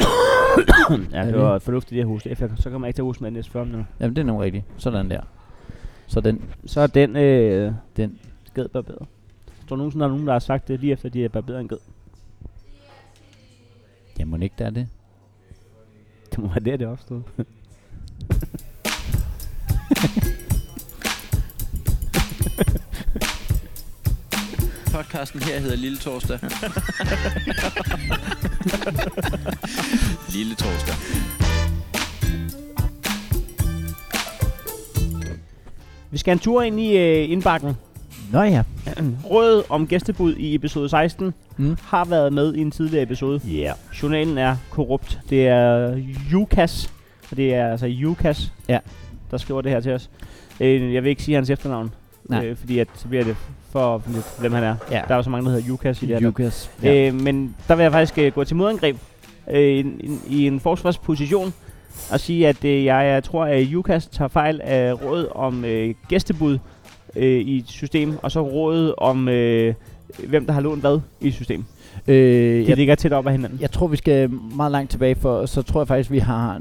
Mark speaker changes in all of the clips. Speaker 1: ja, det
Speaker 2: det?
Speaker 1: var fornuftigt det at huske. F, så kommer jeg ikke til at huske med næste 40 minutter.
Speaker 2: Jamen, det er nu rigtigt. Sådan der. Så den,
Speaker 1: Så er den øh,
Speaker 2: den.
Speaker 1: ged barberet. Jeg tror nogensinde, der er nogen, der har sagt det lige efter, de er barberet en ged.
Speaker 2: Ja, må ikke, der er det?
Speaker 1: Det må være der, det opstod.
Speaker 3: Podcasten her hedder Lille Torsdag. Lille Torsdag.
Speaker 1: Vi skal en tur ind i øh, indbakken.
Speaker 2: Nå ja.
Speaker 1: Rådet om gæstebud i episode 16
Speaker 2: Mm.
Speaker 1: har været med i en tidligere episode.
Speaker 2: Ja. Yeah.
Speaker 1: Journalen er korrupt. Det er Jukas, og det er altså Jukas,
Speaker 2: Ja.
Speaker 1: der skriver det her til os. Øh, jeg vil ikke sige hans efternavn,
Speaker 2: Nej.
Speaker 1: øh, fordi at, så bliver det for, for lidt, hvem han er.
Speaker 2: Ja.
Speaker 1: Der er jo så mange, der hedder Jukas i det her.
Speaker 2: Lukas. Ja.
Speaker 1: Ja. Øh, men der vil jeg faktisk øh, gå til modangreb øh, i, en- i en forsvarsposition og sige, at øh, jeg, jeg tror, at UCAS tager fejl af råd om øh, gæstebud øh, i et system, og så rådet om, øh, hvem der har lånt hvad i et system.
Speaker 2: Øh,
Speaker 1: De
Speaker 2: jeg,
Speaker 1: ligger tæt op ad hinanden.
Speaker 2: jeg tror, vi skal meget langt tilbage, for så tror jeg faktisk, vi har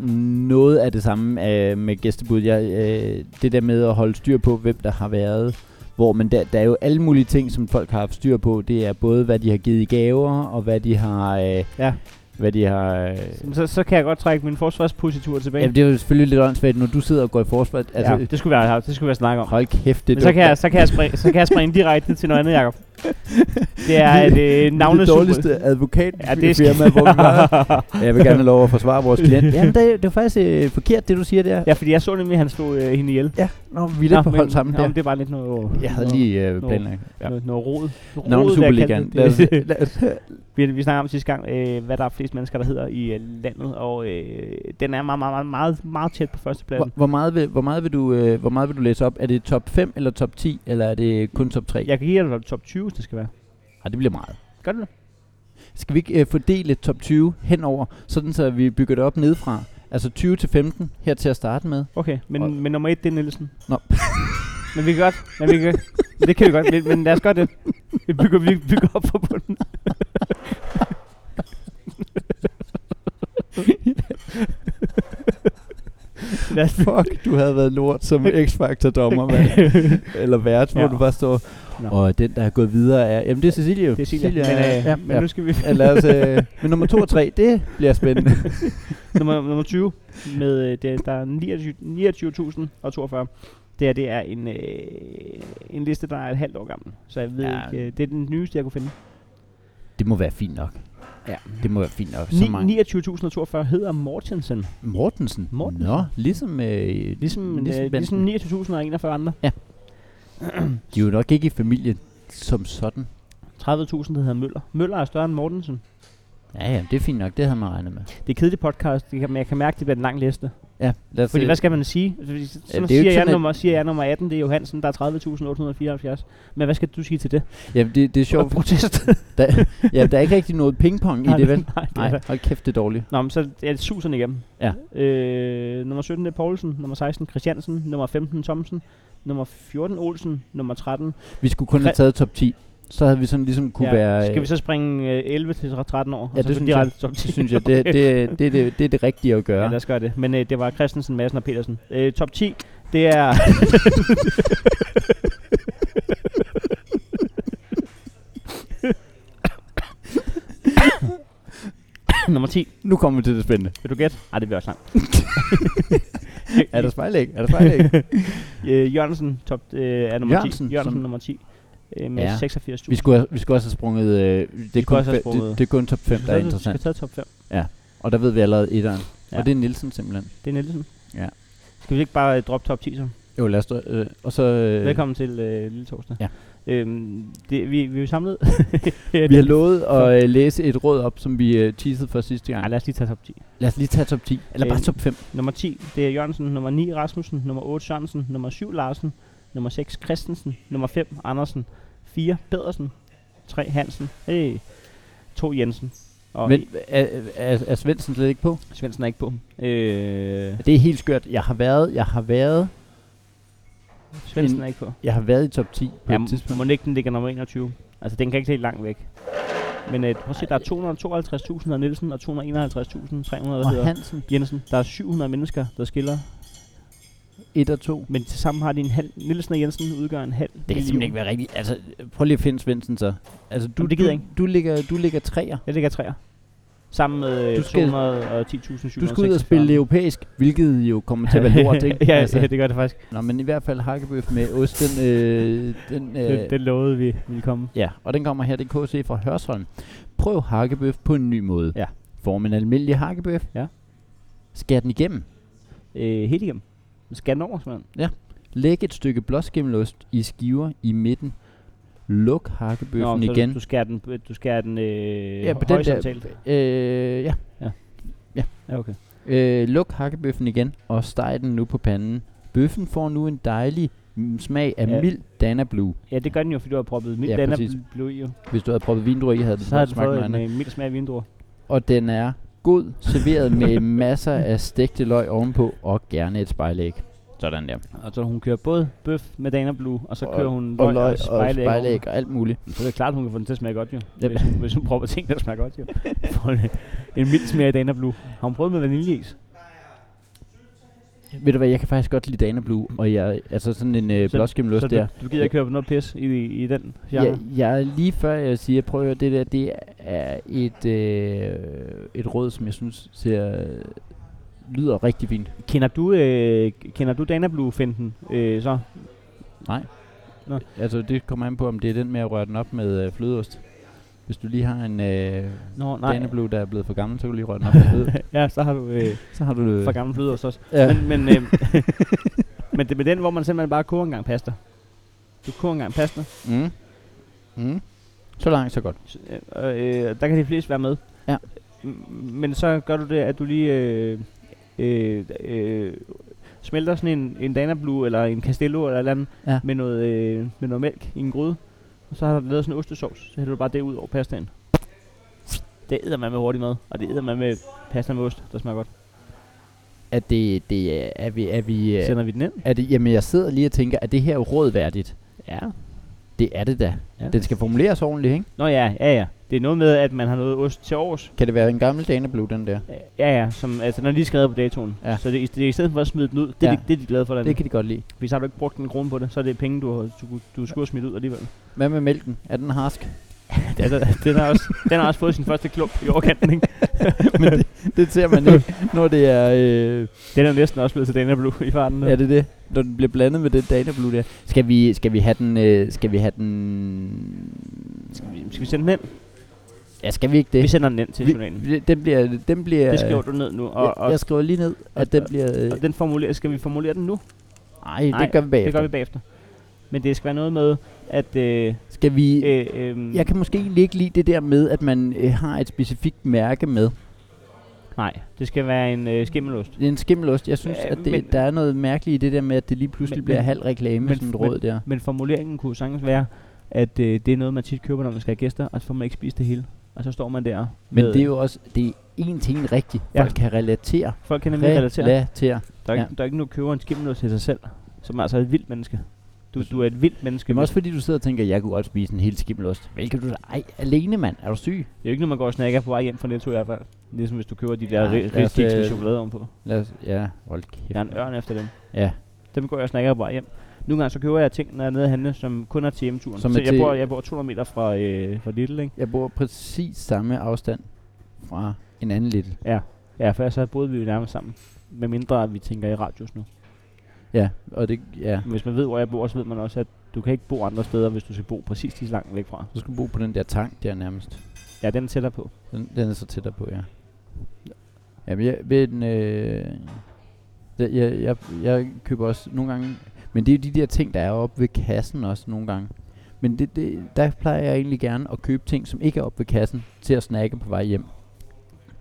Speaker 2: noget af det samme øh, med gæstebud. Jeg, øh, det der med at holde styr på, hvem der har været hvor, men der, der er jo alle mulige ting, som folk har haft styr på. Det er både, hvad de har givet i gaver, og hvad de har... Øh,
Speaker 1: Ja.
Speaker 2: Hvad de har... Øh,
Speaker 1: Så, så kan jeg godt trække min forsvarspositur tilbage.
Speaker 2: Jamen, det er jo selvfølgelig lidt åndssvagt, når du sidder og går i forsvar. Altså,
Speaker 1: altså, ja, det skulle vi have, det skulle vi have snakket om.
Speaker 2: Hold kæft, det er
Speaker 1: Men så kan, jeg, så, kan jeg springe, så kan jeg springe direkte til noget andet, Jacob. Det er et øh,
Speaker 2: det
Speaker 1: navnesuppe.
Speaker 2: dårligste advokat
Speaker 1: Ja, det er
Speaker 2: firma, hvor vi var. Ja, jeg vil gerne have lov at forsvare vores klient. Jamen, det, det er faktisk øh, forkert, det du siger der.
Speaker 1: Ja, fordi jeg så nemlig, at han slog øh, hende ihjel.
Speaker 2: ja. Nå, vi er lidt på hold sammen
Speaker 1: nå,
Speaker 2: der.
Speaker 1: men det er bare lidt noget...
Speaker 2: Jeg havde
Speaker 1: noget-
Speaker 2: lige øh,
Speaker 1: Nå.
Speaker 2: planlagt. Ja.
Speaker 1: Noget, noget rod. Rod,
Speaker 2: Navnet Superligaen.
Speaker 1: vil jeg kalde det.
Speaker 2: Lad os- lad os-
Speaker 1: vi, vi snakker om sidste gang, øh, hvad der er flest mennesker, der hedder i øh, landet, og øh, den er meget, meget, meget, meget, meget tæt på
Speaker 2: Hvor,
Speaker 1: førstepladsen.
Speaker 2: hvor, meget vil, hvor, meget vil du, øh, hvor meget vil du læse op? Er det top 5 eller top 10, eller er det kun top 3?
Speaker 1: Jeg kan give dig top 20, hvis det skal være.
Speaker 2: Ej, det bliver meget.
Speaker 1: Gør det det?
Speaker 2: Skal vi ikke øh, fordele top 20 henover, sådan så vi bygger det op nedefra? Altså 20 til 15 her til at starte med.
Speaker 1: Okay,
Speaker 2: Og-
Speaker 1: men, men nummer et, det er Nielsen.
Speaker 2: Nå.
Speaker 1: men vi kan godt, men vi kan, det kan vi godt, men, men lad os gøre det. Vi bygger, vi bygger op på bunden. lad os
Speaker 2: Fuck, du havde været lort som X-Factor-dommer, mand. Eller vært, hvor
Speaker 1: Ja.
Speaker 2: du bare står...
Speaker 1: Nå.
Speaker 2: Og den, der er gået videre, er... Jamen, det er Cecilie. jo.
Speaker 1: Det er Silja. Men,
Speaker 2: er-
Speaker 1: øh,
Speaker 2: ja,
Speaker 1: men
Speaker 2: ja.
Speaker 1: nu skal vi...
Speaker 2: Ja, lad os, øh, men nummer 2 og 3, det bliver spændende.
Speaker 1: nummer, nummer 20 med øh, det, der er 29 29.042. Det her, det er en, øh, en liste, der er et halvt år gammel. Så jeg ved
Speaker 2: Ja.
Speaker 1: ja. ikke, øh, det er den nyeste, jeg kunne finde.
Speaker 2: det må være fint nok.
Speaker 1: Ja.
Speaker 2: Det må være fint nok. Så mange.
Speaker 1: Ni- 29.042 hedder Mortensen.
Speaker 2: Mortensen.
Speaker 1: Mortensen.
Speaker 2: Nå, ligesom... Øh,
Speaker 1: Ligesom, øh,
Speaker 2: ligesom,
Speaker 1: ligesom
Speaker 2: Benten.
Speaker 1: 29.041 andre.
Speaker 2: De er jo nok ikke i familie som sådan.
Speaker 1: 30.000, der hedder Møller. Møller er større end Mortensen.
Speaker 2: Ja, ja, det er fint nok. Det havde man regnet med.
Speaker 1: Det er kedeligt podcast, det kan, men jeg kan mærke, det bliver en lang liste.
Speaker 2: Ja, lad os
Speaker 1: Fordi
Speaker 2: øh,
Speaker 1: hvad skal man sige? Fordi, så,
Speaker 2: det
Speaker 1: så
Speaker 2: er jo ikke
Speaker 1: siger, jeg
Speaker 2: sådan, at-
Speaker 1: nummer, siger jeg nummer 18, det er Johansen, der er 30.874. Men hvad skal du sige til det?
Speaker 2: Jamen, det, det er sjovt.
Speaker 1: protest.
Speaker 2: Der, ja, der er ikke rigtig noget pingpong i
Speaker 1: Nej,
Speaker 2: det, vel?
Speaker 1: nej, det er
Speaker 2: Nej,
Speaker 1: der.
Speaker 2: hold kæft, det er dårligt.
Speaker 1: Nå, men så er det suserne igennem.
Speaker 2: Ja.
Speaker 1: Øh, nummer 17 det er Poulsen, nummer 16 Christiansen, nummer 15 Thomsen, nummer 14 Olsen, nummer 13.
Speaker 2: Vi skulle kun have
Speaker 1: Kre-
Speaker 2: taget top 10. Så havde vi sådan ligesom kunne være...
Speaker 1: Skal vi så springe øh, 11 til 13 år?
Speaker 2: det synes jeg.
Speaker 1: Top 10.
Speaker 2: Det synes jeg, det, det, det, det, det er det rigtige at
Speaker 1: Ja,
Speaker 2: gøre.
Speaker 1: lad os gøre det. Men øh, det var Christensen, Madsen og Petersen. Øh, top 10, det er... nummer 10.
Speaker 2: nu kommer vi til det spændende.
Speaker 1: Vil du gætte? Nej, det bliver også langt.
Speaker 2: Er der spejlæg? Er der spejlæg?
Speaker 1: Øh, Jørgensen top, øh, er nummer
Speaker 2: Jørgensen,
Speaker 1: 10. Jørgensen
Speaker 2: som-
Speaker 1: nummer 10. Øh, med
Speaker 2: Ja,
Speaker 1: ja. 86
Speaker 2: vi, skulle, have- vi skulle også have sprunget... Øh, det, er
Speaker 1: skulle
Speaker 2: kun,
Speaker 1: også have
Speaker 2: fe-
Speaker 1: sprunget.
Speaker 2: det, det er kun top 5, der er
Speaker 1: Skal
Speaker 2: interessant.
Speaker 1: tage top 5.
Speaker 2: Og der ved vi allerede etteren. Ja.
Speaker 1: Ja.
Speaker 2: Og det er Nielsen simpelthen.
Speaker 1: Det er Nielsen.
Speaker 2: Ja.
Speaker 1: Skal vi ikke bare øh, droppe top 10 så?
Speaker 2: Jo, lad os da, øh, Og så... Øh,
Speaker 1: Velkommen til øh, Lille Torsdag.
Speaker 2: Ja.
Speaker 1: Øhm, det, vi, vi er jo samlet.
Speaker 2: Vi har lovet at øh, læse et råd op, som vi øh, teasede for sidste gang.
Speaker 1: Nej, lad os lige tage top 10.
Speaker 2: Lad os lige tage top 10. Eller bare
Speaker 1: Øh,
Speaker 2: top 5.
Speaker 1: Nummer 10, det er Jørgensen. Nummer 9, Rasmussen. Nummer 8, Sørensen. Nummer 7, Larsen. Nummer 6, Christensen. Nummer 5, Andersen. 4, Pedersen. 3, Hansen. Hey. 2, Jensen. Og
Speaker 2: Men er, er, er Svendsen slet ikke på?
Speaker 1: Svendsen er ikke på. Øh,
Speaker 2: Det er helt skørt. Jeg har været... Jeg har været...
Speaker 1: Svendsen er ikke på.
Speaker 2: Jeg har været i top 10 på
Speaker 1: Ja,
Speaker 2: et tidspunkt.
Speaker 1: må den ikke den ligger nummer 21. Altså, den kan ikke helt langt væk. Men øh, prøv at se, der er 252.000 af Nielsen og 251.300
Speaker 2: Og
Speaker 1: hedder
Speaker 2: Hansen,
Speaker 1: Jensen. Der er 700 mennesker, der skiller.
Speaker 2: 1 og 2.
Speaker 1: Men tilsammen har de en halv... Nielsen og Jensen udgør en halv
Speaker 2: Det kan simpelthen ikke være rigtigt. Altså, prøv lige at finde Svendsen så. Altså, du,
Speaker 1: Jamen, det gider
Speaker 2: du,
Speaker 1: jeg
Speaker 2: du, ligger, du ligger træer.
Speaker 1: Jeg ligger træer. Sammen med øh,
Speaker 2: Du
Speaker 1: du
Speaker 2: skal-
Speaker 1: skal,
Speaker 2: Du skal ud og spille europæisk, hvilket jo kommer til at være lort, ikke?
Speaker 1: ja,
Speaker 2: altså,
Speaker 1: ja, det gør det faktisk.
Speaker 2: Nå, men i hvert fald hakkebøf med ost, den, øh, den, øh,
Speaker 1: Det, det lovede vi ville komme.
Speaker 2: Ja, og den kommer her, det er KC fra Hørsholm. Prøv hakkebøf på en ny måde.
Speaker 1: Ja.
Speaker 2: Form en almindelig hakkebøf.
Speaker 1: Ja.
Speaker 2: Skær den igennem.
Speaker 1: Øh, helt igennem. Skal den over, simpelthen.
Speaker 2: Læg et stykke blåskimmelost i skiver i midten. Luk hakkebøffen
Speaker 1: så
Speaker 2: igen.
Speaker 1: Du, du skærer den, du skærer den øh,
Speaker 2: Ja, på den der-
Speaker 1: højsamtalt.
Speaker 2: Øh, ja.
Speaker 1: Ja, okay.
Speaker 2: Øh, luk hakkebøffen igen og steg den nu på panden. Bøffen får nu en dejlig mm, smag af ja.
Speaker 1: Ja.
Speaker 2: mild Dana Blue.
Speaker 1: Ja, det gør den jo, fordi du har proppet mild
Speaker 2: Ja,
Speaker 1: ja, den
Speaker 2: præcis.
Speaker 1: er blå i jo.
Speaker 2: Hvis du havde proppet vindruer i, havde den
Speaker 1: Så har den
Speaker 2: smagt noget
Speaker 1: fået en
Speaker 2: andet.
Speaker 1: øh, mild smag af vindruer.
Speaker 2: Og den er god, serveret med masser af stegte løg ovenpå og gerne et spejlæg. Sådan der.
Speaker 1: Og så hun kører både bøf med Dana Blue, og så kører hun
Speaker 2: og løg og
Speaker 1: spejlæg over.
Speaker 2: spejlæg og alt muligt.
Speaker 1: Så er det klart, at hun kan få den til at smage godt, jo.
Speaker 2: Yep.
Speaker 1: Hvis, hun- hvis hun prøver ting, der smager godt, jo. Får en, en mild smag af Dana Blue. Har hun prøvet med vaniljeis?
Speaker 2: Ved du hvad, jeg kan faktisk godt lide Dana Blue, og jeg, altså sådan en øh,
Speaker 1: Så-
Speaker 2: blåskimmelost
Speaker 1: Så
Speaker 2: der.
Speaker 1: du, du gider ikke høre på noget pis i, i den genre?
Speaker 2: Ja, jeg er lige før jeg siger, prøv at høre, det der, det er et, øh, et råd, som jeg synes ser, lyder rigtig fint.
Speaker 1: Kender du, øh, kender du Danablu-finden øh, så?
Speaker 2: Altså, det kommer an på, om det er den med at røre den op med øh, flødeost. Hvis du lige har en øh,
Speaker 1: Nå, nej.
Speaker 2: Daneblu, der er blevet for gammel, så kan du lige røre den op med fløde.
Speaker 1: ja, så har du øh,
Speaker 2: Så har du det.
Speaker 1: for gammel fløde også.
Speaker 2: Ja.
Speaker 1: Men, men, øh, men det er med den, hvor man simpelthen bare koger en gang pasta. Du koger en gang pasta.
Speaker 2: Mm. Mm. Så langt, så godt.
Speaker 1: Så, øh, og, øh, der kan de fleste være med.
Speaker 2: Ja.
Speaker 1: M- Men så gør du det, at du lige øh, øh, øh, smelter sådan en, en Danablu eller en Castello eller et eller andet
Speaker 2: Ja.
Speaker 1: med, noget, øh, med noget mælk i en gryde. Og så har du lavet sådan en ostesauce, så hælder du bare det ud over pastaen. Det æder man med hurtig mad, og det æder man med pasta med ost, der smager godt.
Speaker 2: At det, det er, er vi, er vi,
Speaker 1: Yeah.
Speaker 2: øh,
Speaker 1: Sender vi den ind?
Speaker 2: er det, jamen jeg sidder lige og tænker, er det her råd værdigt?
Speaker 1: Ja.
Speaker 2: Det er det da. Ja.
Speaker 1: Ja.
Speaker 2: Den skal formuleres ordentligt, ikke?
Speaker 1: Nå ja, ja ja. Det er noget med, at man har noget ost til års.
Speaker 2: Kan det være en gammel Daneblu, den der?
Speaker 1: Øh, Ja ja, som, altså, den er lige skrevet på datoen.
Speaker 2: Ja.
Speaker 1: Så det, det er i stedet for at smide den ud. Det, er
Speaker 2: Ja.
Speaker 1: de, det er de glade for, den.
Speaker 2: Det kan de godt lide.
Speaker 1: Hvis har du ikke brugt en krone på det, så er det penge, du, har- du, du skulle have smidt ud alligevel.
Speaker 2: Hvad med mælken? Er den harsk?
Speaker 1: altså, den, har også, den har også fået sin første klump i overkanten, ikke?
Speaker 2: Men det, det ser man ikke, når det er... Øh,
Speaker 1: Den er næsten også blevet til Dana Blue i farten. nu.
Speaker 2: er det det? Når den bliver blandet med den Daneblu der. Skal vi, skal vi have den... Øh, skal vi have den...
Speaker 1: Skal vi sende den ind?
Speaker 2: Ja, skal vi ikke det?
Speaker 1: Vi sender den ind til journalen.
Speaker 2: vi, den bliver... Den bliver
Speaker 1: Det skriver du ned nu. Og,
Speaker 2: jeg,
Speaker 1: og,
Speaker 2: jeg skriver lige ned, at
Speaker 1: og-
Speaker 2: den bliver... Øh,
Speaker 1: og den formulerer, skal vi formulere den nu?
Speaker 2: nej, det
Speaker 1: nej,
Speaker 2: gør vi
Speaker 1: Det
Speaker 2: bagefter.
Speaker 1: gør vi bagefter. Men det skal være noget med, at... Øh,
Speaker 2: Skal vi...
Speaker 1: øh, øh,
Speaker 2: Jeg kan måske egentlig ikke lide det der med, at man øh, har et specifikt mærke med.
Speaker 1: Nej, det skal være en øh, skimmelost.
Speaker 2: Det er en skimmelost. Jeg synes,
Speaker 1: Ja,
Speaker 2: at det,
Speaker 1: men-
Speaker 2: der er noget mærkeligt i det der med, at det lige pludselig
Speaker 1: Men-
Speaker 2: bliver
Speaker 1: men-
Speaker 2: halv reklame,
Speaker 1: men-
Speaker 2: sådan et
Speaker 1: men-
Speaker 2: råd der.
Speaker 1: Men formuleringen kunne sagtens være, at øh, det er noget, man tit køber, når man skal have gæster, og så får man ikke spist det hele. Og så står man der.
Speaker 2: Men
Speaker 1: med-
Speaker 2: det er jo også, det er en ting rigtigt.
Speaker 1: Ja.
Speaker 2: Folk kan relatere.
Speaker 1: Folk kan nemlig relatere.
Speaker 2: Relatere.
Speaker 1: Der er,
Speaker 2: Ja.
Speaker 1: ja. ikke, der er ikke nogen, der køber en skimmelost til sig selv, som er altså et vildt menneske. Du, du er et vildt menneske.
Speaker 2: Det er også fordi, du sidder og tænker, jeg kunne godt spise en hel skimmelost. Hvilket du Ej, alene mand. Er du syg?
Speaker 1: Det er jo ikke, når man går og snakker på vej hjem fra Netto i hvert fald. Ligesom hvis du køber de
Speaker 2: Ja,
Speaker 1: der ja,
Speaker 2: lad os,
Speaker 1: rigtig
Speaker 2: øh,
Speaker 1: med chokolade ovenpå.
Speaker 2: Lad os, ja, hold kæft.
Speaker 1: Jeg er en ørn efter dem.
Speaker 2: Ja.
Speaker 1: Dem går jeg og snakker på vej hjem. Nogle gange så køber jeg ting, når jeg er nede at handle, som kun er til hjemturen.
Speaker 2: Som
Speaker 1: så
Speaker 2: er
Speaker 1: jeg
Speaker 2: til-
Speaker 1: bor, jeg bor 200 meter fra, øh, fra Lidl, ikke?
Speaker 2: Jeg bor præcis samme afstand fra en anden lille.
Speaker 1: Ja, for så boede vi jo nærmest sammen. Med mindre, at vi tænker i radius nu.
Speaker 2: Ja, og det, ja.
Speaker 1: Men Hvis man ved, hvor jeg bor, så ved man også, at du kan ikke bo andre steder, hvis du skal bo præcis lige så langt væk fra.
Speaker 2: Du skal bo på den der tank der nærmest.
Speaker 1: Ja, den tæller på.
Speaker 2: Den, den er så tættere på, ja. Jamen, jeg, ved den, øh, jeg, jeg, jeg, jeg køber også nogle gange... Men det er jo de der ting, der er oppe ved kassen også nogle gange. Men det, det, der plejer jeg egentlig gerne at købe ting, som ikke er oppe ved kassen, til at snakke på vej hjem.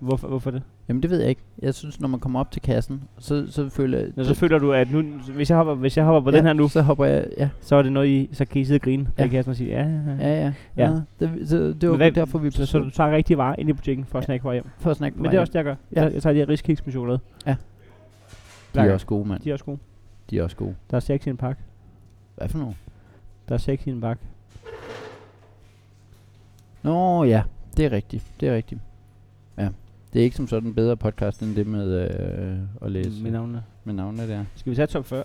Speaker 1: Hvorfor, hvorfor det?
Speaker 2: Jamen det ved jeg ikke. Jeg synes, når man kommer op til kassen, så, så føler jeg...
Speaker 1: Nå, så føler du, at nu, hvis jeg hopper, hvis jeg hopper på
Speaker 2: ja,
Speaker 1: ja. den her nu,
Speaker 2: Så hopper jeg... Ja,
Speaker 1: så er det noget, I, så kan I sidde og grine.
Speaker 2: Ja.
Speaker 1: Ja. Kan jeg sådan sige, ja, ja, ja.
Speaker 2: ja, ja.
Speaker 1: Ja.
Speaker 2: det, så, det var
Speaker 1: Men hvad-
Speaker 2: derfor, vi
Speaker 1: Så, så du tager rigtig varer ind i butikken for at snakke på vej hjem.
Speaker 2: for at snakke på
Speaker 1: Men
Speaker 2: vej
Speaker 1: det er
Speaker 2: hjem.
Speaker 1: også det, jeg gør.
Speaker 2: Ja.
Speaker 1: Ja. Jeg, jeg tager de her riskiks med chokolade.
Speaker 2: de er også gode, mand.
Speaker 1: De er også gode.
Speaker 2: De er også gode.
Speaker 1: Der er seks i en pakke.
Speaker 2: Hvad for nogle?
Speaker 1: Der er seks i en pakke.
Speaker 2: Nå ja, Det er rigtigt, det er rigtigt. Ja, det er ikke som sådan en bedre podcast end det med øh, at læse
Speaker 1: Med navnene.
Speaker 2: med navnene der.
Speaker 1: Skal vi tage top 40?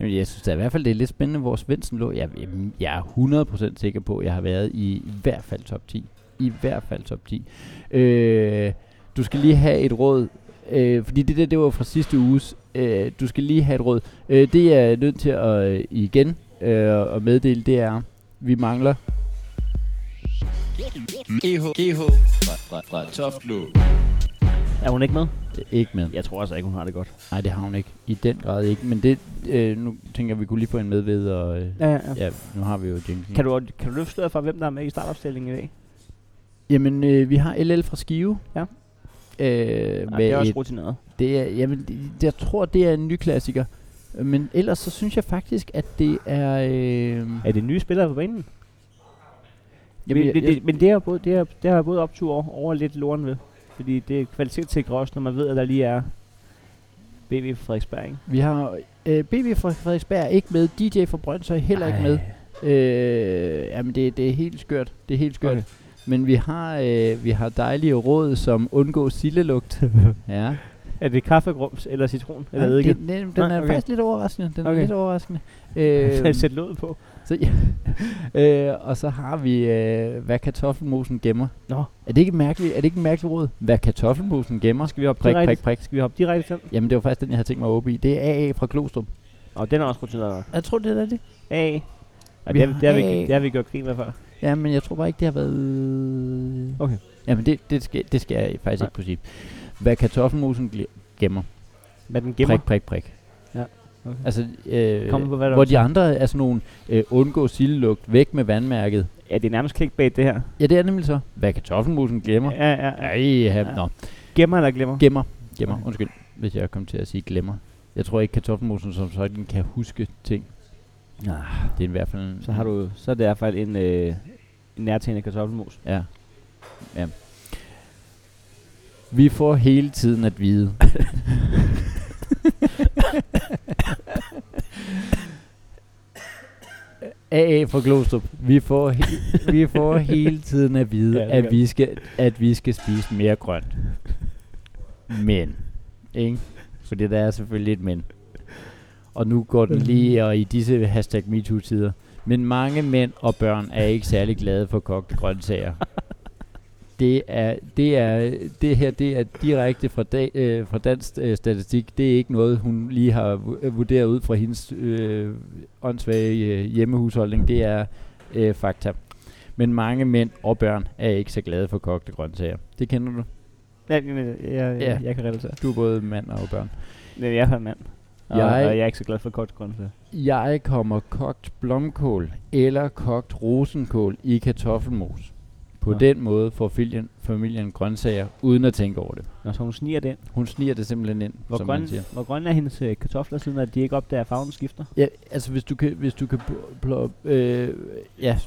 Speaker 2: Jamen, jeg synes da i hvert fald, det er lidt spændende, hvor Svendsen lå. Jeg, jamen, jeg er 100% sikker på, at jeg har været i, i hvert fald top 10. I hvert fald top 10. Øh, du skal lige have et råd, øh, fordi det der, det var fra sidste uges. Øh, du skal lige have et råd. Øh, det jeg er nødt til at øh, igen øh, at meddele, det er, vi mangler
Speaker 3: GH, GH fra, fra, fra Toftlund.
Speaker 1: er hun ikke med?
Speaker 2: ikke med.
Speaker 1: Jeg tror altså ikke, hun har det godt.
Speaker 2: Nej, det har hun ikke. I den grad ikke. Men det, øh, nu tænker jeg, vi kunne lige få en med ved, og øh,
Speaker 1: Ja,
Speaker 2: ja, nu har vi jo Jinxen.
Speaker 1: Kan du, kan du løfte sløret for, hvem der er med i startopstillingen i dag?
Speaker 2: Jamen, øh, vi har LL fra Skive.
Speaker 1: Ja.
Speaker 2: Øh,
Speaker 1: Nej,
Speaker 2: med
Speaker 1: det er også
Speaker 2: et,
Speaker 1: rutineret.
Speaker 2: det er, jamen, det, det- jeg tror, det er en ny klassiker. Øh, Men ellers så synes jeg faktisk, at det er... Øh, jamen,
Speaker 1: Er det nye spillere på banen? Jamen,
Speaker 2: jeg,
Speaker 1: men, det,
Speaker 2: jeg,
Speaker 1: det, men det har både, det har, det har jeg både optur over, over og lidt loren ved. Fordi det er kvalitetssikret også, når man ved, at der lige er BV fra Frederiksberg, ikke?
Speaker 2: vi har øh, BB fra Frederiksberg er ikke med, DJ fra Brøndshøj heller ikke
Speaker 1: Ej.
Speaker 2: med. Øh, jamen, det, det er helt skørt. Det er helt skørt.
Speaker 1: Okay.
Speaker 2: Okay. Men vi har, øh, vi har dejlige råd, som undgår sillelugt. ja.
Speaker 1: Er det kaffegrums eller citron? Eller
Speaker 2: Nej,
Speaker 1: eddike?
Speaker 2: det, den, den
Speaker 1: Nej,
Speaker 2: er
Speaker 1: okay.
Speaker 2: faktisk lidt overraskende. Den okay.
Speaker 1: Okay.
Speaker 2: er lidt overraskende. Øhm,
Speaker 1: Øh, Sæt låget på.
Speaker 2: Så, ja. øh, og så har vi, øh, hvad kartoffelmosen gemmer.
Speaker 1: Nå.
Speaker 2: Er det ikke et mærkeligt, er det ikke et mærkeligt råd? Hvad kartoffelmosen gemmer?
Speaker 1: Skal vi hoppe
Speaker 2: Prik,
Speaker 1: direkte?
Speaker 2: prik, prik.
Speaker 1: Skal vi hoppe direkte til den?
Speaker 2: Jamen, det var faktisk den, jeg havde tænkt mig at åbne i. Det er AA fra Klostrup.
Speaker 1: Og den er også rutineret nok.
Speaker 2: Jeg tror, det er det.
Speaker 1: A. Ja,
Speaker 2: Vi
Speaker 1: det, har,
Speaker 2: har
Speaker 1: det, har vi,
Speaker 2: A.
Speaker 1: det har vi gjort grin med før.
Speaker 2: Ja, men jeg tror bare ikke, det har været...
Speaker 1: Okay.
Speaker 2: Jamen, det, det, skal, det skal jeg faktisk
Speaker 1: Nej.
Speaker 2: Nej. ikke kunne sige. Hvad kartoffelmosen gl- gemmer.
Speaker 1: Hvad den gemmer.
Speaker 2: Prik, prik, prik.
Speaker 1: Ja, okay.
Speaker 2: Altså, øh,
Speaker 1: Kom på, hvad der
Speaker 2: hvor
Speaker 1: er
Speaker 2: de andre er sådan nogle, øh, undgå sildelugt, væk med vandmærket.
Speaker 1: Ja, det er nærmest clickbait, det her.
Speaker 2: Ja, det er nemlig så. Hvad kartoffelmosen gemmer.
Speaker 1: Ja, ja, ja.
Speaker 2: Ej, ja.
Speaker 1: Ja.
Speaker 2: nå.
Speaker 1: Gemmer eller glemmer?
Speaker 2: Gemmer. Gemmer.
Speaker 1: Okay.
Speaker 2: Undskyld, hvis jeg kom til at sige glemmer. Jeg tror ikke, kartoffelmosen som sådan kan huske ting.
Speaker 1: Nej.
Speaker 2: Det er i hvert fald... en-
Speaker 1: Så har du, så er det i hvert fald en, øh, en nærtagende kartoffelmos.
Speaker 2: Ja. ja. Vi får hele tiden at vide. AA fra Glostrup. Vi får, he- vi får hele tiden at vide,
Speaker 1: Ja,
Speaker 2: ja,
Speaker 1: det gør
Speaker 2: at, vi skal, at vi skal spise mere grønt. Men. Ikke? Fordi der er selvfølgelig et men. Og nu går
Speaker 1: Mm.
Speaker 2: den lige, og i disse hashtag MeToo-tider. Men mange mænd og børn er ikke særlig glade for kogte grøntsager. Det er, det er, det her, det er direkte fra, da, øh, fra dansk øh, statistik. Det er ikke noget, hun lige har vu- vurderet ud fra hendes øh, åndssvage øh, hjemmehusholdning. Det er øh, fakta. Men mange mænd og børn er ikke så glade for kogte grøntsager. Det kender du.
Speaker 1: Ja, men, jeg, jeg, øh,
Speaker 2: Ja.
Speaker 1: jeg kan relatere.
Speaker 2: Du er både mand og børn.
Speaker 1: Men jeg er en mand. Og, jeg,
Speaker 2: Jeg-
Speaker 1: og jeg er ikke så glad for kort grund til.
Speaker 2: Jeg kommer kogt blomkål eller kogt rosenkål i kartoffelmos. På
Speaker 1: Nå.
Speaker 2: den måde får familien, familien grøntsager uden at tænke over det.
Speaker 1: Når så hun sniger den.
Speaker 2: Hun sniger det simpelthen ind,
Speaker 1: Hvor,
Speaker 2: som
Speaker 1: grøn,
Speaker 2: man siger.
Speaker 1: hvor grønne er hendes øh, kartofler, siden at de ikke opdager, at farven skifter?
Speaker 2: Ja, altså hvis du kan, hvis du kan pl- pl- øh, ja,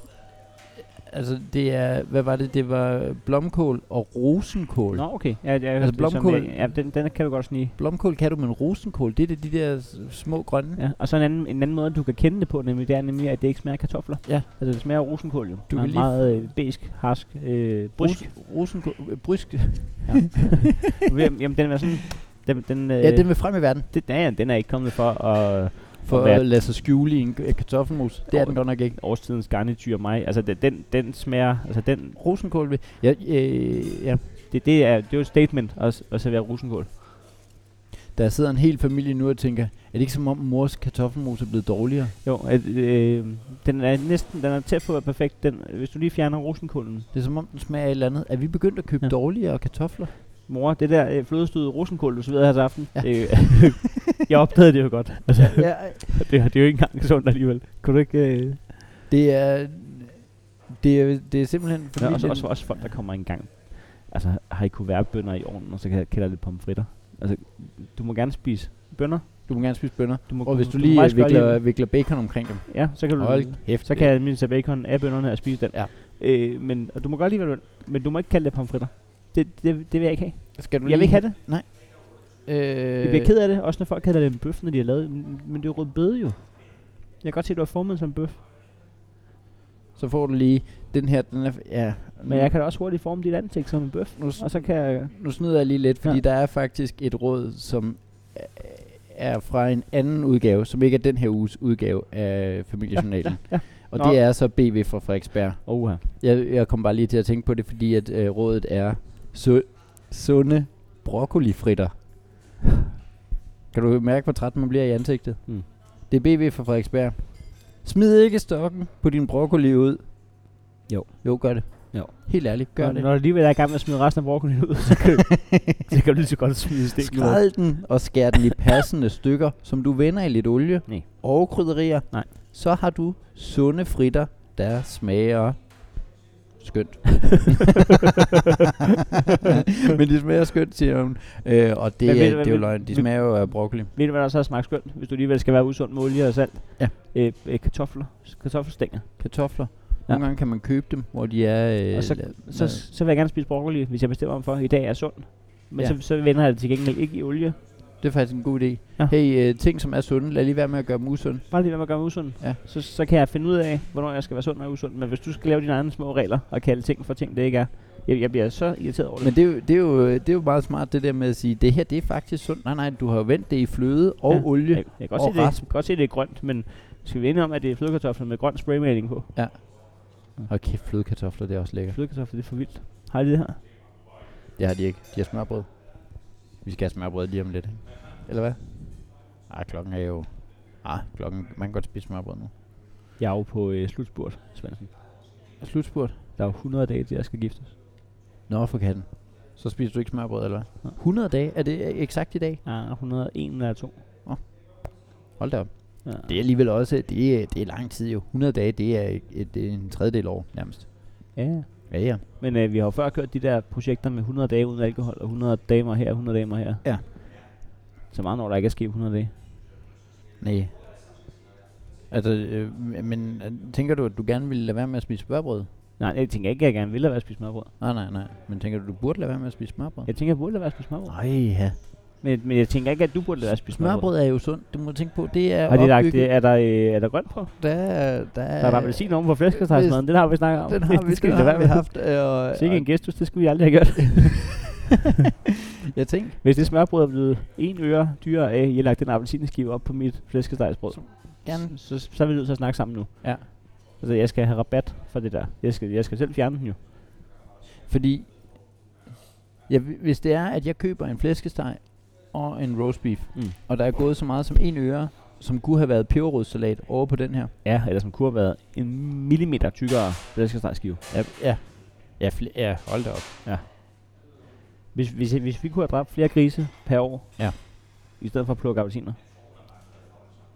Speaker 2: altså det er, hvad var det, det var blomkål og rosenkål.
Speaker 1: Nå, okay. Ja, ja,
Speaker 2: Altså
Speaker 1: det er som,
Speaker 2: blomkål-
Speaker 1: øh, Ja, den, den kan du godt snige.
Speaker 2: Blomkål kan du, men rosenkål, det er det, de der s- små grønne.
Speaker 1: Ja. Og så en anden, en anden måde, du kan kende det på, nemlig, det er nemlig, at det ikke smager af kartofler.
Speaker 2: Ja.
Speaker 1: Altså, det smager af rosenkål jo. Du
Speaker 2: kan
Speaker 1: kan
Speaker 2: lige-
Speaker 1: meget øh, besk, harsk, øh, brysk.
Speaker 2: Ros- rosenkål, øh, brysk.
Speaker 1: Jamen, jamen, den er sådan... Den, den, øh,
Speaker 2: Ja, den vil frem i verden,
Speaker 1: det, ja, ja, den er ikke kommet for at
Speaker 2: for
Speaker 1: hvad-
Speaker 2: at lade sig skjule i en k- kartoffelmos. Det er den godt nok ikke.
Speaker 1: årstidens garnityr og mig. Altså, den, den, den smager... Altså, den,
Speaker 2: Rosenkål vil, ja, øh, ja,
Speaker 1: det, det, er, det er jo et statement at, at servere rosenkål.
Speaker 2: der sidder en hel familie nu og tænker, er det ikke som om mors kartoffelmos er blevet dårligere?
Speaker 1: Jo, at, øh, den er næsten den er tæt på at være perfekt. Den, hvis du lige fjerner rosenkålen.
Speaker 2: Det er som om den smager af et eller andet. Er vi begyndt at købe
Speaker 1: Ja.
Speaker 2: ja. dårligere kartofler?
Speaker 1: Mor, det der øh, flødestød rosenkål, du serverede her til aften.
Speaker 2: Ja.
Speaker 1: Ja. Øh, jeg opdagede det jo godt. Altså,
Speaker 2: ja, ej.
Speaker 1: det, det er jo ikke engang sundt alligevel. Kunne du ikke... Øh?
Speaker 2: Det er, det er, det er simpelthen fordi...
Speaker 1: Ja, og så
Speaker 2: den-
Speaker 1: også, også folk, der kommer engang. Altså, har I kunne være bønder i ovnen, og så kan- kan der lidt pomfritter. Altså, du må gerne spise bønder.
Speaker 2: Du må gerne spise bønner.
Speaker 1: Du må,
Speaker 2: Og hvis du
Speaker 1: må
Speaker 2: lige
Speaker 1: meget
Speaker 2: øh,
Speaker 1: godt lide
Speaker 2: vikler, vikler bacon omkring dem.
Speaker 1: dem. Ja, så kan du...
Speaker 2: Hold kæft.
Speaker 1: Så kan jeg min tage bacon af bønderne og spise den.
Speaker 2: Ja.
Speaker 1: Øh, men, og du må godt lide, hvad du vil, men du må ikke kalde det pomfritter. Det, det, det vil jeg ikke have.
Speaker 2: Skal du
Speaker 1: Jeg vil ikke have det.
Speaker 2: Øh,
Speaker 1: Jeg bliver ked af det, også når folk kalder det en bøf, når de har lavet Men men det er jo rødbede jo. Jeg kan godt se, at du har formet som en bøf.
Speaker 2: så får du lige den her, den er, ja.
Speaker 1: Men jeg kan da også hurtigt forme dit ansigt som en bøf.
Speaker 2: nu, s-
Speaker 1: Og så kan jeg...
Speaker 2: nu snyder jeg lige lidt, fordi
Speaker 1: Ja.
Speaker 2: ja. der er faktisk et råd, som øh, er fra en anden udgave, som ikke er den her uges udgave af Familiejournalen. Ja,
Speaker 1: ja, ja.
Speaker 2: Og
Speaker 1: Nå.
Speaker 2: det er så BV fra Frederiksberg.
Speaker 1: Oha.
Speaker 2: Jeg, jeg kom bare lige til at tænke på det, fordi at øh, rådet er su- sunde broccolifritter. Kan du mærke, hvor træt man bliver i ansigtet?
Speaker 1: Mm.
Speaker 2: Det er BV fra Frederiksberg. Smid ikke stokken på din broccoli ud.
Speaker 1: Jo.
Speaker 2: Jo, gør det.
Speaker 1: Jo.
Speaker 2: Helt ærligt, gør
Speaker 1: Gør
Speaker 2: det.
Speaker 1: Når du alligevel er i gang med at smide resten af brokkolien ud, så kan, du- så kan du lige så godt smide stik.
Speaker 2: Skræl den og skær den i passende stykker, som du vender i lidt olie
Speaker 1: Nej.
Speaker 2: og krydderier.
Speaker 1: Nej.
Speaker 2: Så har du sunde fritter, der smager skønt. Men de smager skønt, siger hun. Øh, og det,
Speaker 1: Men
Speaker 2: er,
Speaker 1: ved du
Speaker 2: det
Speaker 1: hvad,
Speaker 2: er jo
Speaker 1: men-
Speaker 2: løgn. De
Speaker 1: men-
Speaker 2: smager jo af broccoli.
Speaker 1: Ved du, hvad der så smager skønt, hvis du alligevel skal være usund med olie og salt?
Speaker 2: Ja.
Speaker 1: Øh, øh, kartofler. Kartoffelstænger.
Speaker 2: Kartofler. Nogle
Speaker 1: Ja.
Speaker 2: gange kan man købe dem, hvor de er... Øh,
Speaker 1: Og
Speaker 2: la-
Speaker 1: Så, så vil jeg gerne spise broccoli, hvis jeg bestemmer mig for, at i dag er sund. Men
Speaker 2: Ja.
Speaker 1: ja. så, så vender jeg det til gengæld ikke i olie.
Speaker 2: det er faktisk en god idé.
Speaker 1: Ja.
Speaker 2: Hey, øh, ting som er sunde, lad lige være med at gøre dem usunde.
Speaker 1: Bare lige være med at gøre mig usund.
Speaker 2: Ja.
Speaker 1: Så, så kan jeg finde ud af, hvornår jeg skal være sund og usund. Men hvis du skal lave dine egne små regler og kalde ting for ting, det ikke er, jeg, jeg bliver så irriteret over det.
Speaker 2: Men det er, jo, det, er jo, det er jo meget smart, det der med at sige, det her det er faktisk sundt. Nej, nej, du har jo vendt det i fløde og
Speaker 1: Ja. jeg,
Speaker 2: olie.
Speaker 1: jeg, kan godt
Speaker 2: og
Speaker 1: se, det, jeg
Speaker 2: rasp.
Speaker 1: kan godt se, det er grønt, men skal vi ende om, at det er flødekartofler med grøn spraymaling på?
Speaker 2: Og kæft, flødekartofler, det er også lækkert.
Speaker 1: Flødekartofler, det er for vildt. Har I det her?
Speaker 2: Det har de ikke. De har smørbrød. Vi skal have smørbrød lige om lidt. ikke? Eller hvad? Ah, klokken er jo... Ah, klokken... Man kan godt spise smørbrød nu.
Speaker 1: Jeg er jo på øh, slutspurt, Svendsen.
Speaker 2: Slutspurt.
Speaker 1: Der er jo 100 dage til, jeg skal giftes.
Speaker 2: Nå, for katten. Så spiser du ikke smørbrød, eller hvad?
Speaker 1: Nej.
Speaker 2: 100 dage? Er det eksakt i dag?
Speaker 1: Ja, 101 eller 2.
Speaker 2: Hold da op.
Speaker 1: Ja.
Speaker 2: Det er alligevel også... Det er, det er lang tid jo. 100 dage, det er, et, det er en tredjedel år nærmest.
Speaker 1: ja.
Speaker 2: Ja, ja.
Speaker 1: Men øh, vi har jo før kørt de der projekter med 100 dage uden alkohol, og 100 damer her, 100 damer her.
Speaker 2: Ja.
Speaker 1: Så meget når der ikke er sket på 100 dage.
Speaker 2: Nej. Altså, øh, men øh, tænker du, at du gerne ville lade være med at spise smørbrød?
Speaker 1: Nej, jeg tænker ikke, at jeg gerne vil lade være at spise smørbrød.
Speaker 2: Nej, nej, nej. Men tænker du, du burde lade være med at spise smørbrød?
Speaker 1: Jeg tænker, jeg burde lade være at spise smørbrød.
Speaker 2: Nej, ja.
Speaker 1: Men, men jeg tænker ikke, at du burde lade være at spise smørbrød.
Speaker 2: Smørbrød er jo sundt, du må tænke på. Det er
Speaker 1: Har de lagt,
Speaker 2: opbygget-
Speaker 1: det, er, der, øh, er der grønt på?
Speaker 2: Der, er- der,
Speaker 1: Der er der appelsin oven på flæskestegsmaden, det har vi snakket om.
Speaker 2: Den har vi,
Speaker 1: det skal
Speaker 2: den
Speaker 1: vi lade
Speaker 2: har
Speaker 1: være
Speaker 2: vi
Speaker 1: med.
Speaker 2: haft. Øh,
Speaker 1: Sikke en gestus, det skulle vi aldrig have gjort.
Speaker 2: og- jeg tænkte,
Speaker 1: Hvis det smørbrød er blevet en øre dyrere af, at jeg lagt den appelsineskive op på mit flæskestegsbrød,
Speaker 2: gerne.
Speaker 1: så, så er vi nødt til at snakke sammen nu.
Speaker 2: Ja.
Speaker 1: Altså, jeg skal have rabat for det der. Jeg skal, jeg skal selv fjerne den jo.
Speaker 2: Fordi, ja, hvi- hvis det er, at jeg køber en flæskesteg og en roast beef,
Speaker 1: Mm.
Speaker 2: og der er gået så meget som en øre, som kunne have været peberrodssalat over på den her.
Speaker 1: Ja, eller som kunne have været en millimeter tykkere flæskestegsskive.
Speaker 2: Ja, ja. Ja, fl- ja hold da op.
Speaker 1: Hvis, hvis, hvis vi kunne have dræbt flere grise per år,
Speaker 2: Ja.
Speaker 1: i stedet for at plukke appelsiner.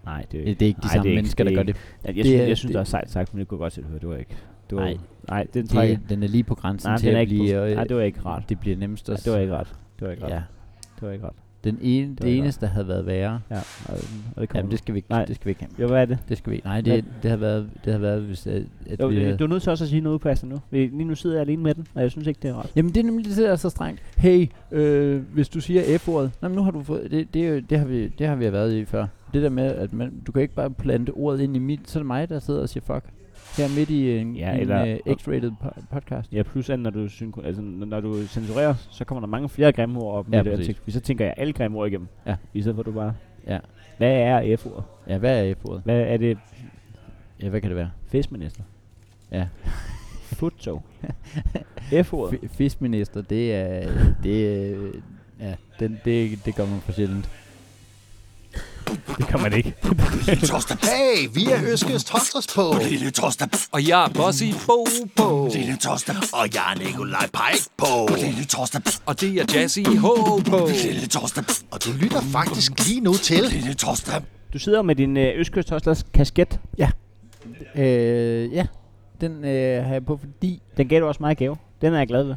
Speaker 1: Nej, det er jo
Speaker 2: Det er ikke de
Speaker 1: nej,
Speaker 2: samme
Speaker 1: det er
Speaker 2: mennesker,
Speaker 1: ikke-
Speaker 2: der gør det.
Speaker 1: Jeg, jeg,
Speaker 2: Det
Speaker 1: synes,
Speaker 2: er-
Speaker 1: jeg synes,
Speaker 2: det-
Speaker 1: det er sejt sagt, men det kunne jeg godt selv høre. Det var ikke... Det var,
Speaker 2: Nej.
Speaker 1: nej den trækker...
Speaker 2: det den er lige på grænsen
Speaker 1: Nej,
Speaker 2: til
Speaker 1: den er
Speaker 2: at
Speaker 1: ikke...
Speaker 2: blive...
Speaker 1: Blive,
Speaker 2: øh,
Speaker 1: nej, det var ikke rart.
Speaker 2: det bliver nemmest
Speaker 1: Nej,
Speaker 2: at...
Speaker 1: det var ikke rart. Det var ikke rart.
Speaker 2: ja.
Speaker 1: Det var ikke rart.
Speaker 2: Den ene,
Speaker 1: var
Speaker 2: det
Speaker 1: ikke
Speaker 2: eneste, der havde været værre.
Speaker 1: Ja, og, og det kommer
Speaker 2: Jamen, det skal vi ikke,
Speaker 1: Nej.
Speaker 2: det skal vi ikke have.
Speaker 1: Jo, hvad er det?
Speaker 2: Det skal vi ikke. Nej, det, det, har været, det har været, hvis at, at
Speaker 1: Jo,
Speaker 2: vi havde...
Speaker 1: du er nødt til også at sige noget upassende nu. Vi- Lige nu sidder jeg alene med den, og jeg synes ikke, det er rart.
Speaker 2: Jamen, det er nemlig det, der er så strengt. Hey, øh, hvis du siger F-ordet, Nå, men nu har du fået... Det, det, er jo- det, har vi, det har vi været i før. Det der med, at man, du kan ikke bare plante ordet ind i mit... Så er det mig, der sidder og siger fuck. Her midt i en,
Speaker 1: Ja,
Speaker 2: ja, en
Speaker 1: eller-
Speaker 2: eller, uh, X-rated po- podcast.
Speaker 1: Ja, plus at når du, synko- altså, n- når du censurerer, så kommer der mange flere grimme ord op.
Speaker 2: Ja,
Speaker 1: med det
Speaker 2: præcis.
Speaker 1: ansigt, fordi Så tænker jeg alle grimme ord igennem.
Speaker 2: Ja.
Speaker 1: I stedet for at du bare...
Speaker 2: Ja.
Speaker 1: Hvad er F-ord?
Speaker 2: Ja, hvad er F-ordet?
Speaker 1: Hvad er det?
Speaker 2: Ja, hvad kan det være?
Speaker 1: Festminister?
Speaker 2: Ja.
Speaker 1: Futtog? F-ordet?
Speaker 2: F- fiskminister, det er... Det, er- ja, den, det, det gør man for sjældent.
Speaker 1: Det kan man ikke.
Speaker 4: Torsdag. Hey, vi er Øskes Torsdags på. Lille Torsdag.
Speaker 5: Og jeg er Bossy Bo Bo.
Speaker 4: Lille Torsdag. Og jeg er Nikolaj Pajk på. Lille Torsdag.
Speaker 5: Og det er Jazzy H på.
Speaker 4: Lille Torsdag. Og du lytter faktisk lige nu til. Lille Torsdag.
Speaker 1: Du sidder med din øh, Østkyst Toslers kasket.
Speaker 2: Øh, ja, den øh, har jeg på, fordi
Speaker 1: Den gav du også mig i gave. Den er jeg glad ved.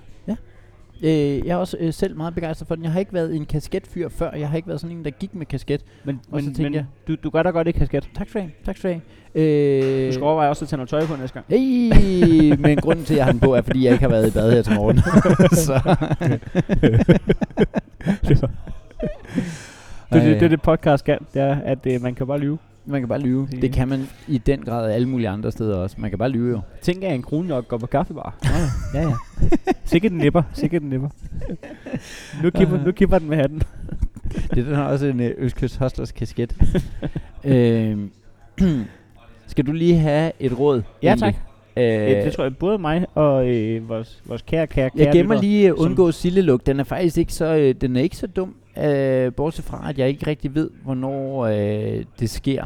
Speaker 2: øh, jeg er også øh, selv meget begejstret for den. Jeg har ikke været en kasketfyr før. Jeg har ikke været sådan en, der gik med kasket.
Speaker 1: Men,
Speaker 2: Og
Speaker 1: men,
Speaker 2: så tænkte
Speaker 1: men
Speaker 2: jeg-
Speaker 1: du, du gør da godt i kasket.
Speaker 2: Tak skal du have. Tak skal du have.
Speaker 1: Du
Speaker 2: Øh,
Speaker 1: skal overveje også at tage noget tøj på næste gang.
Speaker 2: Hey, men grunden til, at jeg har den på, er, fordi jeg ikke har været i bad her til morgen. så.
Speaker 1: Det, det, det, det podcast skal, det er, at øh, man kan bare lyve.
Speaker 2: Man kan bare lyve.
Speaker 1: Det-
Speaker 2: Det kan man i den grad alle mulige andre steder også. Man kan bare lyve jo.
Speaker 1: Tænk, at en krone nok går på kaffebar.
Speaker 2: Ja, ja.
Speaker 1: Sikkert den nipper. Sikkert den nipper. nu, kipper,
Speaker 2: Øh.
Speaker 1: nu kipper den med hatten.
Speaker 2: Det den har også en øh, Østkyst Hostlers kasket. øhm. Skal du lige have et råd?
Speaker 1: Ja,
Speaker 2: egentlig?
Speaker 1: Øh,
Speaker 2: Øh,
Speaker 1: det tror jeg både mig og øh, vores, vores kære, kære, kære
Speaker 2: jeg gemmer
Speaker 1: lyttere,
Speaker 2: lige øh,
Speaker 1: som-
Speaker 2: undgå silleluk. Den er faktisk ikke så, øh, den er ikke så dum, øh, bortset fra, at jeg ikke rigtig ved, hvornår øh, det sker.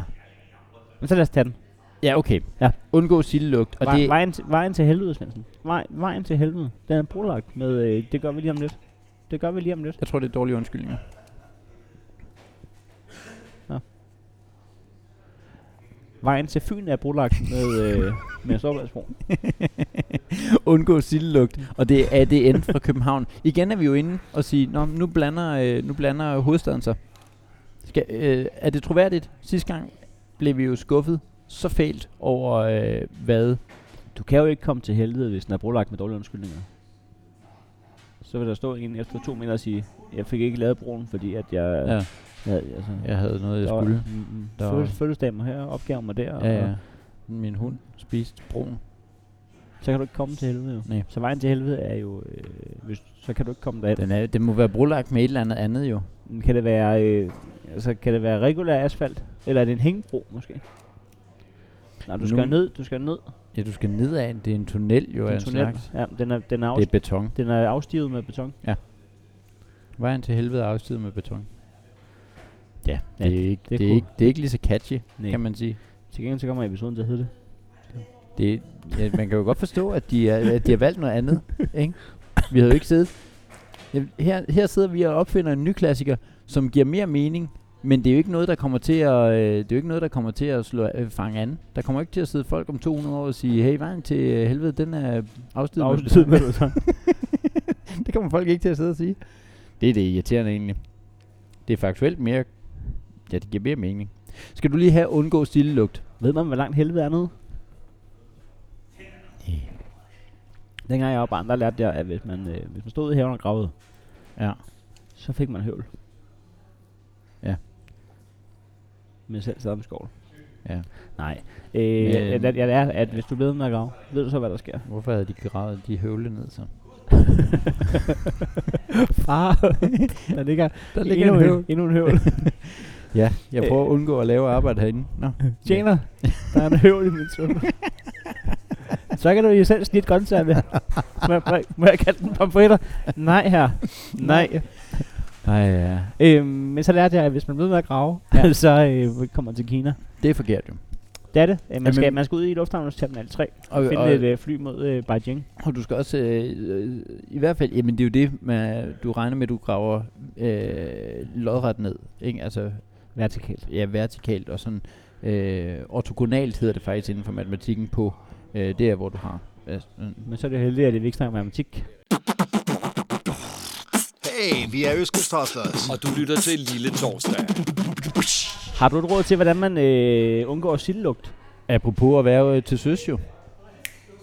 Speaker 1: Men så lad os tage den.
Speaker 2: Ja, okay. Ja. Undgå sillelugt.
Speaker 1: Og
Speaker 2: Og
Speaker 1: Vej,
Speaker 2: det,
Speaker 1: det... vejen, til, vejen til helvede, Svendsen. Vej, vejen til helvede. Den er brolagt med, øh, det gør vi lige om lidt. Det gør vi lige om lidt.
Speaker 2: jeg tror, det er dårlige undskyldninger.
Speaker 1: Vejen til Fyn er brolagt med, øh, med Storbritannien.
Speaker 2: Undgå sillelugt. Og det er ADN fra København. Igen er vi jo inde og sige, Nå, nu, blander, øh, nu blander hovedstaden sig. Skal, øh, er det troværdigt? Sidste gang blev vi jo skuffet så fælt over, øh, hvad
Speaker 1: Du kan jo ikke komme til helvede, hvis den er brolagt med dårlige undskyldninger. Så vil der stå en efter to meter og sige, jeg fik ikke lavet broen, fordi at jeg...
Speaker 2: Ja.
Speaker 1: jeg altså,
Speaker 2: jeg havde noget, jeg
Speaker 1: der var-
Speaker 2: skulle.
Speaker 1: mm, mm,
Speaker 2: Der
Speaker 1: fødsels-
Speaker 2: var-
Speaker 1: Fødselsdagen var her, opgaven var der,
Speaker 2: Ja, ja.
Speaker 1: og
Speaker 2: Min hund spiste broen.
Speaker 1: så kan du ikke komme til helvede jo.
Speaker 2: Nej.
Speaker 1: Så vejen til helvede er jo, øh, hvis, så kan du ikke komme derhen.
Speaker 2: Den, er, den må være brolagt med et eller andet andet jo.
Speaker 1: Kan det være, øh, altså, kan det være regulær asfalt? Eller er det en hængebro måske? Nej, du
Speaker 2: Nu-
Speaker 1: skal ned, du skal ned.
Speaker 2: Ja, du skal nedad. Det er en tunnel jo.
Speaker 1: Det
Speaker 2: af
Speaker 1: er en
Speaker 2: en
Speaker 1: tunnel.
Speaker 2: slags.
Speaker 1: Ja, den er, den, er
Speaker 2: Det
Speaker 1: af,
Speaker 2: er beton.
Speaker 1: den er afstivet med beton.
Speaker 2: Vejen til helvede er afstiget med beton.
Speaker 1: Ja,
Speaker 2: Det er, ikke,
Speaker 1: det er
Speaker 2: det, det, er
Speaker 1: cool.
Speaker 2: ikke, det er ikke lige så catchy,
Speaker 1: Nej.
Speaker 2: kan man sige.
Speaker 1: Til gengæld så kommer episoden til at hedde det.
Speaker 2: Det, ja, man kan jo godt forstå, at de, er, at de har valgt noget andet. Ikke? Vi havde jo ikke siddet... Ja, Her, her sidder vi og opfinder en ny klassiker, som giver mere mening, men det er jo ikke noget, der kommer til at, øh, det er jo ikke noget, der kommer til at slå, øh, fange an. Der kommer ikke til at sidde folk om 200 år og sige, hey, vejen til øh, helvede, den er afstiget. med
Speaker 1: Afstivet med beton.
Speaker 2: beton." det kommer folk ikke til at sidde og sige. Det er det irriterende egentlig. Det er faktuelt mere... Ja, det giver mere mening. Skal du lige have undgå stillelugt?
Speaker 1: Ved man, hvor langt helvede er nede? Dengang jeg var barn, der lærte jeg, at hvis man, øh, hvis man stod i haven og gravede,
Speaker 2: Ja.
Speaker 1: så fik man høvl.
Speaker 2: Ja.
Speaker 1: Med selv samme skål.
Speaker 2: Ja.
Speaker 1: Nej. Øh,
Speaker 2: Men-
Speaker 1: jeg, jeg, jeg lærer, at hvis du bliver ved med at grave, ved du så, hvad der sker.
Speaker 2: Hvorfor havde de gravet de høvle ned så?
Speaker 1: Far, der ligger,
Speaker 2: Der
Speaker 1: endnu, en høvl. endnu en høvl.
Speaker 2: Ja, jeg
Speaker 1: Øh.
Speaker 2: prøver at undgå at lave arbejde herinde. Nå.
Speaker 1: Tjener, der er en høvl i min svømme. Så kan du jo selv snit grøntsagerne. Må, jeg- må, jeg- må jeg kalde den pomfritter? Nej her. Nej.
Speaker 2: Nej, ja.
Speaker 1: Øhm, men så lærte jeg, at hvis man bliver ved med at grave, ja.
Speaker 2: Ja.
Speaker 1: så øh, kommer man til Kina.
Speaker 2: Det er forkert jo.
Speaker 1: Det er det. Øh, man,
Speaker 2: Jamen-
Speaker 1: skal, man skal ud i lufthavnens terminal 3
Speaker 2: Og,
Speaker 1: og finde
Speaker 2: og,
Speaker 1: et øh, fly mod øh, Beijing.
Speaker 2: og du skal også, øh, øh, i hvert fald, jamen det er jo det, med, du regner med, at du graver øh, lodret ned. Ikke? Altså,
Speaker 1: Vertikalt.
Speaker 2: ja, vertikalt og sådan øh, ortogonalt hedder det faktisk inden for matematikken på øh, der, hvor du har. Altså, øh,
Speaker 1: Men så er det heldigt, at det ikke snakker matematik.
Speaker 4: Hey, vi er Østkyst Hustlers.
Speaker 5: Og du lytter til Lille Torsdag.
Speaker 1: Har du et råd til, hvordan man øh, undgår sildelugt?
Speaker 2: Apropos at være øh, til søs jo.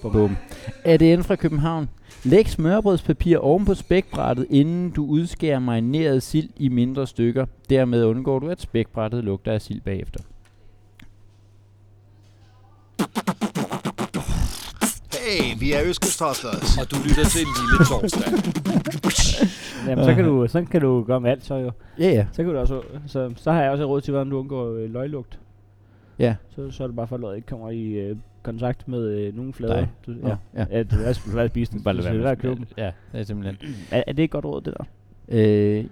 Speaker 2: Bum. Bum. ADN fra København. Læg smørbrødspapir oven på spækbrættet, inden du udskærer marineret sild i mindre stykker. Dermed undgår du, at spækbrættet lugter af sild bagefter.
Speaker 4: Hey, vi er Østkyst Hustlers.
Speaker 5: Og du lytter til Lille Torsdag.
Speaker 1: Jamen, så kan du, sådan kan du gøre med alt, så jo.
Speaker 2: Ja, ja.
Speaker 1: Så kan du også, så, så har jeg også et råd til, hvordan du undgår øh, løglugt.
Speaker 2: Ja.
Speaker 1: Så, så er det bare for, at løget ikke kommer i øh, kontakt med øh, nogen flader.
Speaker 2: Dig.
Speaker 1: Du, ja.
Speaker 2: Nå, ja.
Speaker 1: ja, du er sgu svært at spise den. Bare lad være med at købe den.
Speaker 2: Ja, det er simpelthen.
Speaker 1: Er, er det et godt råd, det der?
Speaker 2: Øh,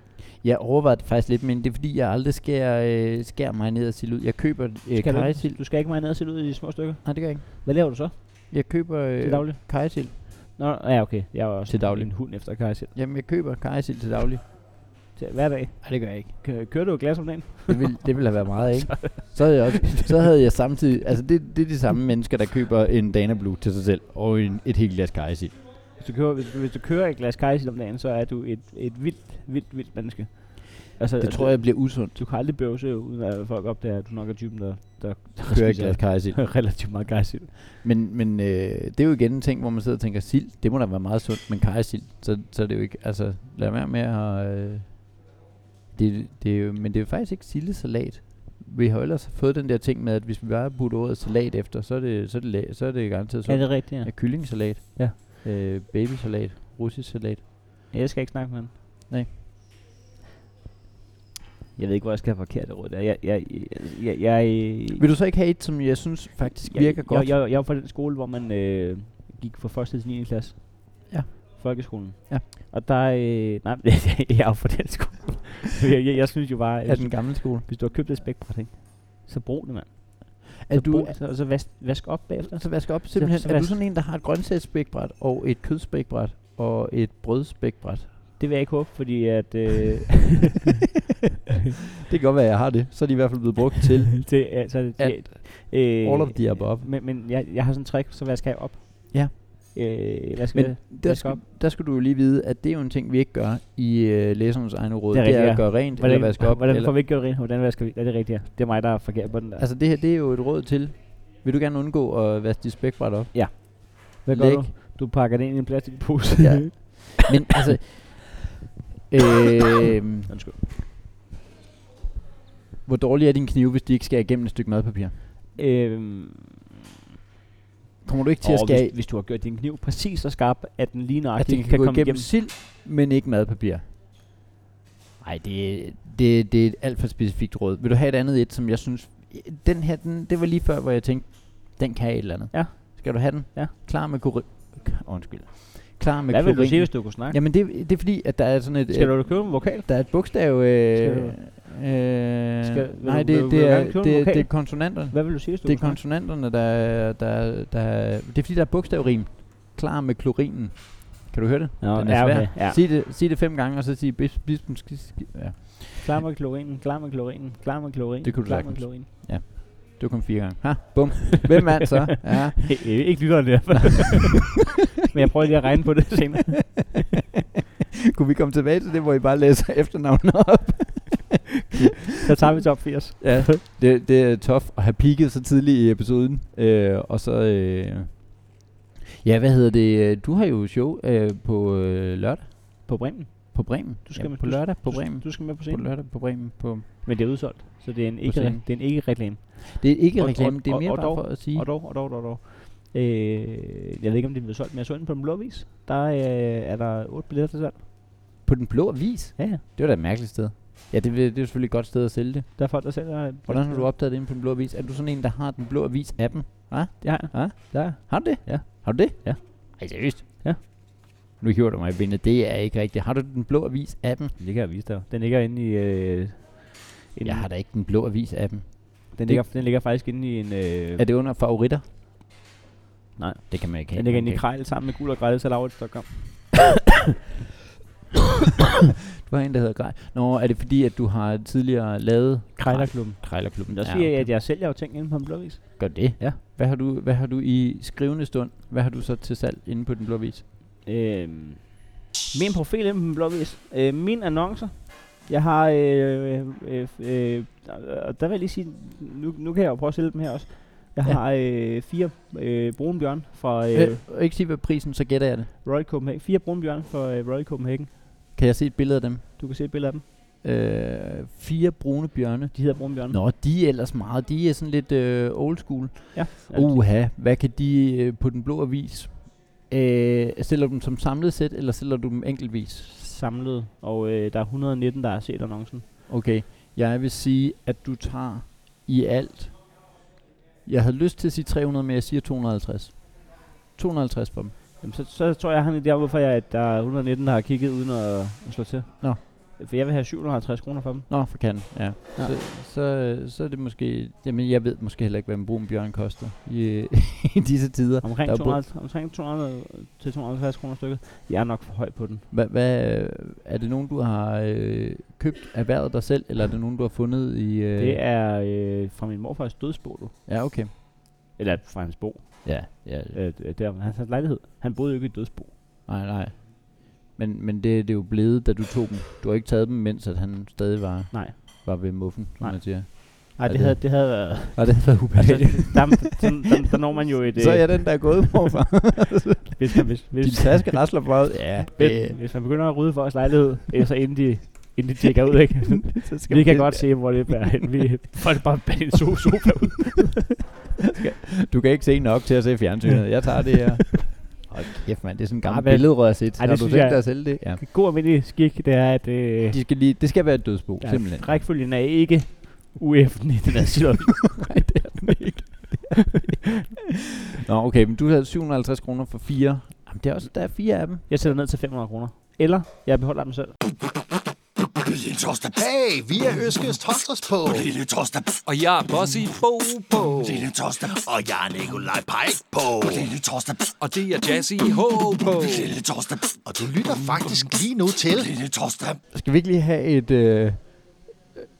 Speaker 2: jeg overvejede det faktisk lidt, men det er fordi, jeg aldrig skærer, øh, skærer marineret sild ud. Jeg køber øh,
Speaker 1: Skal du,
Speaker 2: kajsild.
Speaker 1: ikke, du skal ikke marinere sild ud i små stykker.
Speaker 2: Nej, det gør jeg ikke.
Speaker 1: Hvad laver du så
Speaker 2: Jeg køber
Speaker 1: til
Speaker 2: øh,
Speaker 1: daglig?
Speaker 2: kajsild.
Speaker 1: Nå, ja, okay. Jeg er også
Speaker 2: Til daglig.
Speaker 1: en hund efter kajsild.
Speaker 2: Jamen, jeg køber kajsild til daglig.
Speaker 1: Til hver dag.
Speaker 2: Nej, det gør jeg ikke.
Speaker 1: Kø- Kører du et glas om dagen?
Speaker 2: Det ville, det ville have været meget, ikke? Så havde, jeg også, så havde jeg samtidig... Altså, det, det er de samme mennesker, der køber en Dana Blue til sig selv og en, et helt glas kajsild.
Speaker 1: Hvis du kører, hvis, du- hvis du kører et glas kajsild om dagen, så er du et, et vildt, vildt, vildt menneske. Altså,
Speaker 2: Det tror jeg bliver usundt,
Speaker 1: Du kan aldrig bøvse, uden at folk opdager, at du nok er typen, der, der, der
Speaker 2: at købe et glas kajsild.
Speaker 1: relativt meget gejsild.
Speaker 2: Men, men øh, det er jo igen en ting, hvor man sidder og tænker, sild, det må da være meget sundt, men kajsild, så, så er det jo ikke... Altså, lad være med at... Øh, det, det er jo, men det er jo faktisk ikke sildesalat. vi har jo ellers fået den der ting med, at hvis vi bare putter ordet salat efter, så er det, så er det, la- så er det garanteret
Speaker 1: Er
Speaker 2: sådan.
Speaker 1: det rigtigt, ja?
Speaker 2: Ja, kyllingsalat.
Speaker 1: Ja.
Speaker 2: Øh, babysalat. Russisk salat.
Speaker 1: Ja, Jeg skal ikke snakke med ham.
Speaker 2: Nej.
Speaker 1: Jeg ved ikke, hvor jeg skal have parkeret det råd. der. Jeg, jeg, jeg, jeg, jeg,
Speaker 2: Vil du så ikke have et, som jeg synes faktisk
Speaker 1: jeg,
Speaker 2: virker
Speaker 1: jeg,
Speaker 2: godt?
Speaker 1: Jeg, jeg, jeg var fra den skole, hvor man øh, gik fra 1. til 9. klasse.
Speaker 2: Ja.
Speaker 1: Folkeskolen.
Speaker 2: Ja.
Speaker 1: Og der... Øh, nej, jeg er jo fra den skole. jeg, jeg, jeg, synes jo bare,
Speaker 2: af
Speaker 1: at
Speaker 2: den gamle skole.
Speaker 1: hvis du har købt et spækbræt, ikke? så brug det, mand.
Speaker 2: Er
Speaker 1: så
Speaker 2: du,
Speaker 1: brug det, og så vask, vask op bagefter.
Speaker 2: så Altså, vask op simpelthen.
Speaker 1: så
Speaker 2: er du
Speaker 1: vask-
Speaker 2: sådan en, der har et grøntsagsspækbræt og et kødspækbræt og et brødspækbræt?
Speaker 1: Det vil jeg ikke håbe, fordi at... Øh,
Speaker 2: Det kan godt være, at jeg har det. Så er de i hvert fald blevet brugt til
Speaker 1: det, altså, det,
Speaker 2: Alt.
Speaker 1: øh,
Speaker 2: all of the above.
Speaker 1: Men, men jeg, jeg har sådan en trick, så vasker jeg op.
Speaker 2: Ja.
Speaker 1: Øh, hvad skal
Speaker 2: Men
Speaker 1: jeg?
Speaker 2: der
Speaker 1: vask
Speaker 2: skal,
Speaker 1: op.
Speaker 2: der skal du jo lige vide, at det er jo en ting, vi ikke gør i øh, læsernes egne råd.
Speaker 1: Det
Speaker 2: Det
Speaker 1: er
Speaker 2: er,
Speaker 1: rigtigt,
Speaker 2: det er
Speaker 1: ja.
Speaker 2: at gøre rent hvordan,
Speaker 1: Hvordan,
Speaker 2: eller vaske op.
Speaker 1: hvordan
Speaker 2: eller,
Speaker 1: får vi ikke gjort rent? Hvordan vasker vi? Ja, det er rigtigt, ja. Det er mig, der er forkert på den der.
Speaker 2: Altså det her, det er jo et råd til. Vil du gerne undgå at vaske dit spækbræt op?
Speaker 1: Hvad gør
Speaker 2: læg-
Speaker 1: du? Du pakker det ind i en plastikpose.
Speaker 2: Ja. Men altså... øh,
Speaker 1: Undskyld.
Speaker 2: hvor dårlige er dine knive, hvis de ikke skærer igennem et stykke madpapir?
Speaker 1: Øhm,
Speaker 2: Kommer du ikke til at
Speaker 1: og
Speaker 2: skære
Speaker 1: hvis, hvis, du har gjort din kniv præcis så skarp, at den lige
Speaker 2: at
Speaker 1: nøjagtigt
Speaker 2: det
Speaker 1: kan,
Speaker 2: kan, kan gå
Speaker 1: komme
Speaker 2: igennem,
Speaker 1: igennem.
Speaker 2: igennem sild, men ikke madpapir. Nej, det, det, det er et alt for specifikt råd. Vil du have et andet et, som jeg synes... Den her, den, det var lige før, hvor jeg tænkte, den kan et eller andet.
Speaker 1: Ja.
Speaker 2: Skal du have den?
Speaker 1: Ja.
Speaker 2: Klar med kurin... Undskyld. Klar med
Speaker 1: Hvad vil du
Speaker 2: klorin.
Speaker 1: sige, hvis du kunne snakke?
Speaker 2: Jamen, det, det er fordi, at der er sådan et...
Speaker 1: Skal
Speaker 2: øh,
Speaker 1: du købe en vokal?
Speaker 2: Der er et bogstav... Øh,
Speaker 1: Skal du-
Speaker 2: øh,
Speaker 1: Skal- vil
Speaker 2: nej,
Speaker 1: du- vil-
Speaker 2: det,
Speaker 1: vil du
Speaker 2: det,
Speaker 1: gerne
Speaker 2: er,
Speaker 1: købe en
Speaker 2: det, det,
Speaker 1: vokal?
Speaker 2: er konsonanterne.
Speaker 1: Hvad vil du sige, hvis du
Speaker 2: Det er
Speaker 1: kunne snakke?
Speaker 2: konsonanterne, der, der, der... Det er fordi, der er bogstavrim. Klar med klorinen. Kan du høre det?
Speaker 1: Nå,
Speaker 2: Den er svær.
Speaker 1: okay. Ja.
Speaker 2: Sig det, sig det fem gange, og så sig bis, bispen sk- sk- Ja,
Speaker 1: Klar med klorinen, klar med klorinen, klar med klorinen.
Speaker 2: Det kunne du
Speaker 1: klar med
Speaker 2: sagtens.
Speaker 1: klorinen.
Speaker 2: det kom fire gange. Ha, bum. Hvem vandt så? Ja.
Speaker 1: Øh, ikke lytteren i hvert fald. Men jeg prøver lige at regne på det senere.
Speaker 2: Kunne vi komme tilbage til det, hvor I bare læser efternavnet op?
Speaker 1: Så tager vi top 80.
Speaker 2: Ja, det, det er tof at have peaked så tidligt i episoden. Øh, og så... Øh, ja, hvad hedder det? Du har jo show øh, på øh, lørdag.
Speaker 1: På Bremen.
Speaker 2: På Bremen.
Speaker 1: Du skal
Speaker 2: ja,
Speaker 1: med-
Speaker 2: på
Speaker 1: du-
Speaker 2: lørdag på
Speaker 1: du,
Speaker 2: Bremen.
Speaker 1: Du skal med på
Speaker 2: På
Speaker 1: scenen.
Speaker 2: lørdag på Bremen. På
Speaker 1: Men det er udsolgt, så det er en ikke,
Speaker 2: scenen.
Speaker 1: det er en ikke reklame.
Speaker 2: det er ikke
Speaker 1: Og-
Speaker 2: reklame,
Speaker 1: og-
Speaker 2: det er
Speaker 1: og-
Speaker 2: mere
Speaker 1: og
Speaker 2: bare
Speaker 1: dog-
Speaker 2: for at sige...
Speaker 1: Og dog, og dog, og dog. Øh, jeg ved ikke, om det er blevet solgt, men jeg så den på den blå vis. Der øh, er der otte billetter til salg.
Speaker 2: På den blå avis?
Speaker 1: Ja, ja.
Speaker 2: Det var da et mærkeligt sted. Ja, det, vil- det er jo selvfølgelig et godt sted at sælge det.
Speaker 1: Der er folk, der sælger... øh,
Speaker 2: Hvordan har du opdaget det inde på den blå avis? Er du sådan en, der har den blå avis appen?
Speaker 1: Det har jeg.
Speaker 2: Ja?
Speaker 1: Der er.
Speaker 2: Har du det?
Speaker 1: Ja.
Speaker 2: Har du det?
Speaker 1: Ja.
Speaker 2: Ej, seriøst?
Speaker 1: Ja.
Speaker 2: Nu hører du mig vinde. Det er ikke rigtigt. Har du den blå avis appen?
Speaker 1: Den ligger jeg vise dig. Den ligger inde i... Øh, inde,
Speaker 2: Jeg har da ikke den blå avis appen.
Speaker 1: den, ligger, den ligger faktisk inde i en... Øh,
Speaker 2: Er det under favoritter?
Speaker 1: Nej.
Speaker 2: Det kan man ikke have.
Speaker 1: den ligger inde i
Speaker 2: Okay.
Speaker 1: Krejl sammen med Guld og Grejl til Laurits.com.
Speaker 2: Du har en, der hedder Grej. Nå, er det fordi, at du har tidligere lavet
Speaker 1: Krejlerklubben.
Speaker 2: Krejlerklubben?
Speaker 1: Men der siger jeg, at jeg sælger jo ting inde på den blå vis.
Speaker 2: Gør det?
Speaker 1: Ja.
Speaker 2: Hvad har, du, hvad har du i skrivende stund? Hvad har du så til salg inde på den blå avis?
Speaker 1: Øh, min profil inde på den blå vis. Øh, mine annoncer. Jeg har... Øh, øh, øh, og der vil jeg lige sige... Nu, nu kan jeg jo prøve at sælge dem her også. Jeg
Speaker 2: Ja.
Speaker 1: har øh, fire øh, brunbjørn fra øh,
Speaker 2: Øh. Øh, ikke sige, hvad prisen, så gætter jeg det.
Speaker 1: Royal Copenhagen. Fire brunbjørn fra øh, Royal Copenhagen.
Speaker 2: Kan jeg se et billede af dem?
Speaker 1: Du kan se et billede af dem.
Speaker 2: Øh, fire brune bjørne.
Speaker 1: De hedder brunbjørn.
Speaker 2: Nå, de er ellers meget. De er sådan lidt øh, old school.
Speaker 1: Ja.
Speaker 2: Uha, hvad kan de øh, på den blå avis? Øh, sælger du dem som samlet sæt, eller sælger du dem enkeltvis?
Speaker 1: samlet, og øh, der er 119, der har set annoncen.
Speaker 2: Okay, jeg vil sige, at du tager i alt. Jeg havde lyst til at sige 300, men jeg siger 250. 250 for dem.
Speaker 1: Jamen, så, så tror jeg, han er der, hvorfor jeg, at der er 119, der har kigget uden at, at slå til.
Speaker 2: Nå.
Speaker 1: For jeg vil have 750 kroner for dem.
Speaker 2: Nå, for kan. Ja.
Speaker 1: Ja.
Speaker 2: ja. Så, så, øh, så er det måske... Jamen, jeg ved måske heller ikke, hvad en brun bjørn koster i, øh, i disse tider.
Speaker 1: Omkring,
Speaker 2: Der er
Speaker 1: 200, omkring 200 til 250 kroner stykket. Jeg er nok for høj på den.
Speaker 2: Hvad, hvad, øh, er det nogen, du har øh, købt, erhvervet dig selv, eller er det nogen, du har fundet i... Øh,
Speaker 1: Det er øh, fra min morfars dødsbo, du.
Speaker 2: Ja, okay.
Speaker 1: Eller fra hans bo.
Speaker 2: Ja, ja.
Speaker 1: Øh, øh, der, hans, hans lejlighed. Han boede jo ikke i et dødsbo.
Speaker 2: Nej, nej. Men, men det, det er jo blevet, da du tog dem. Du har ikke taget dem, mens at han stadig var,
Speaker 1: Nej.
Speaker 2: var ved muffen, som
Speaker 1: Nej.
Speaker 2: nej. man siger.
Speaker 1: Nej,
Speaker 2: Er
Speaker 1: det,
Speaker 2: det-
Speaker 1: havde, det havde været...
Speaker 2: Og det var
Speaker 1: Altså,
Speaker 2: ubehageligt.
Speaker 1: der, der, der, der, når man jo et...
Speaker 2: Så er
Speaker 1: øh,
Speaker 2: jeg den, der er gået, morfar.
Speaker 1: hvis, hvis, hvis,
Speaker 2: Din taske rasler bare ud. Ja,
Speaker 1: Hvis, hvis man begynder at rydde for vores lejlighed, øh, så inden de inden de tjekker ud, ikke?
Speaker 2: Så skal
Speaker 1: vi
Speaker 2: man
Speaker 1: kan
Speaker 2: lige-
Speaker 1: godt se, hvor det er henne. Vi folk bare bag en so- sofa ud.
Speaker 2: Du kan ikke se nok til at se fjernsynet. Jeg tager det her. Hold kæft, mand. Det er sådan en gammel
Speaker 1: Ej, hvad-
Speaker 2: billedrørsæt.
Speaker 1: Ej, det
Speaker 2: Har du
Speaker 1: synes
Speaker 2: tænkt
Speaker 1: jeg-
Speaker 2: dig at sælge det? Ja.
Speaker 1: God almindelig skik, det er, at øh,
Speaker 2: De skal lige, det skal være et dødsbo, ja, simpelthen.
Speaker 1: ja, rækkefølgen er ikke uæften i den her situation.
Speaker 2: Nå, okay, men du havde 750 kroner for fire. Jamen, det er også, der er fire af dem.
Speaker 1: Jeg sætter ned til 500 kroner. Eller jeg beholder dem selv.
Speaker 3: Lille torsdag.
Speaker 4: Hey, vi er Øskes Tosters på.
Speaker 3: Lille torsdag.
Speaker 5: Og jeg er boss i Bo Bo.
Speaker 3: Lille torsdag.
Speaker 4: Og jeg er Nikolaj Pajk på.
Speaker 3: Lille torsdag.
Speaker 5: Og det er Jazz i H på.
Speaker 3: Lille torsdag.
Speaker 4: Og du lytter faktisk lige nu til.
Speaker 3: Lille torsdag.
Speaker 2: Skal vi ikke lige have et, øh,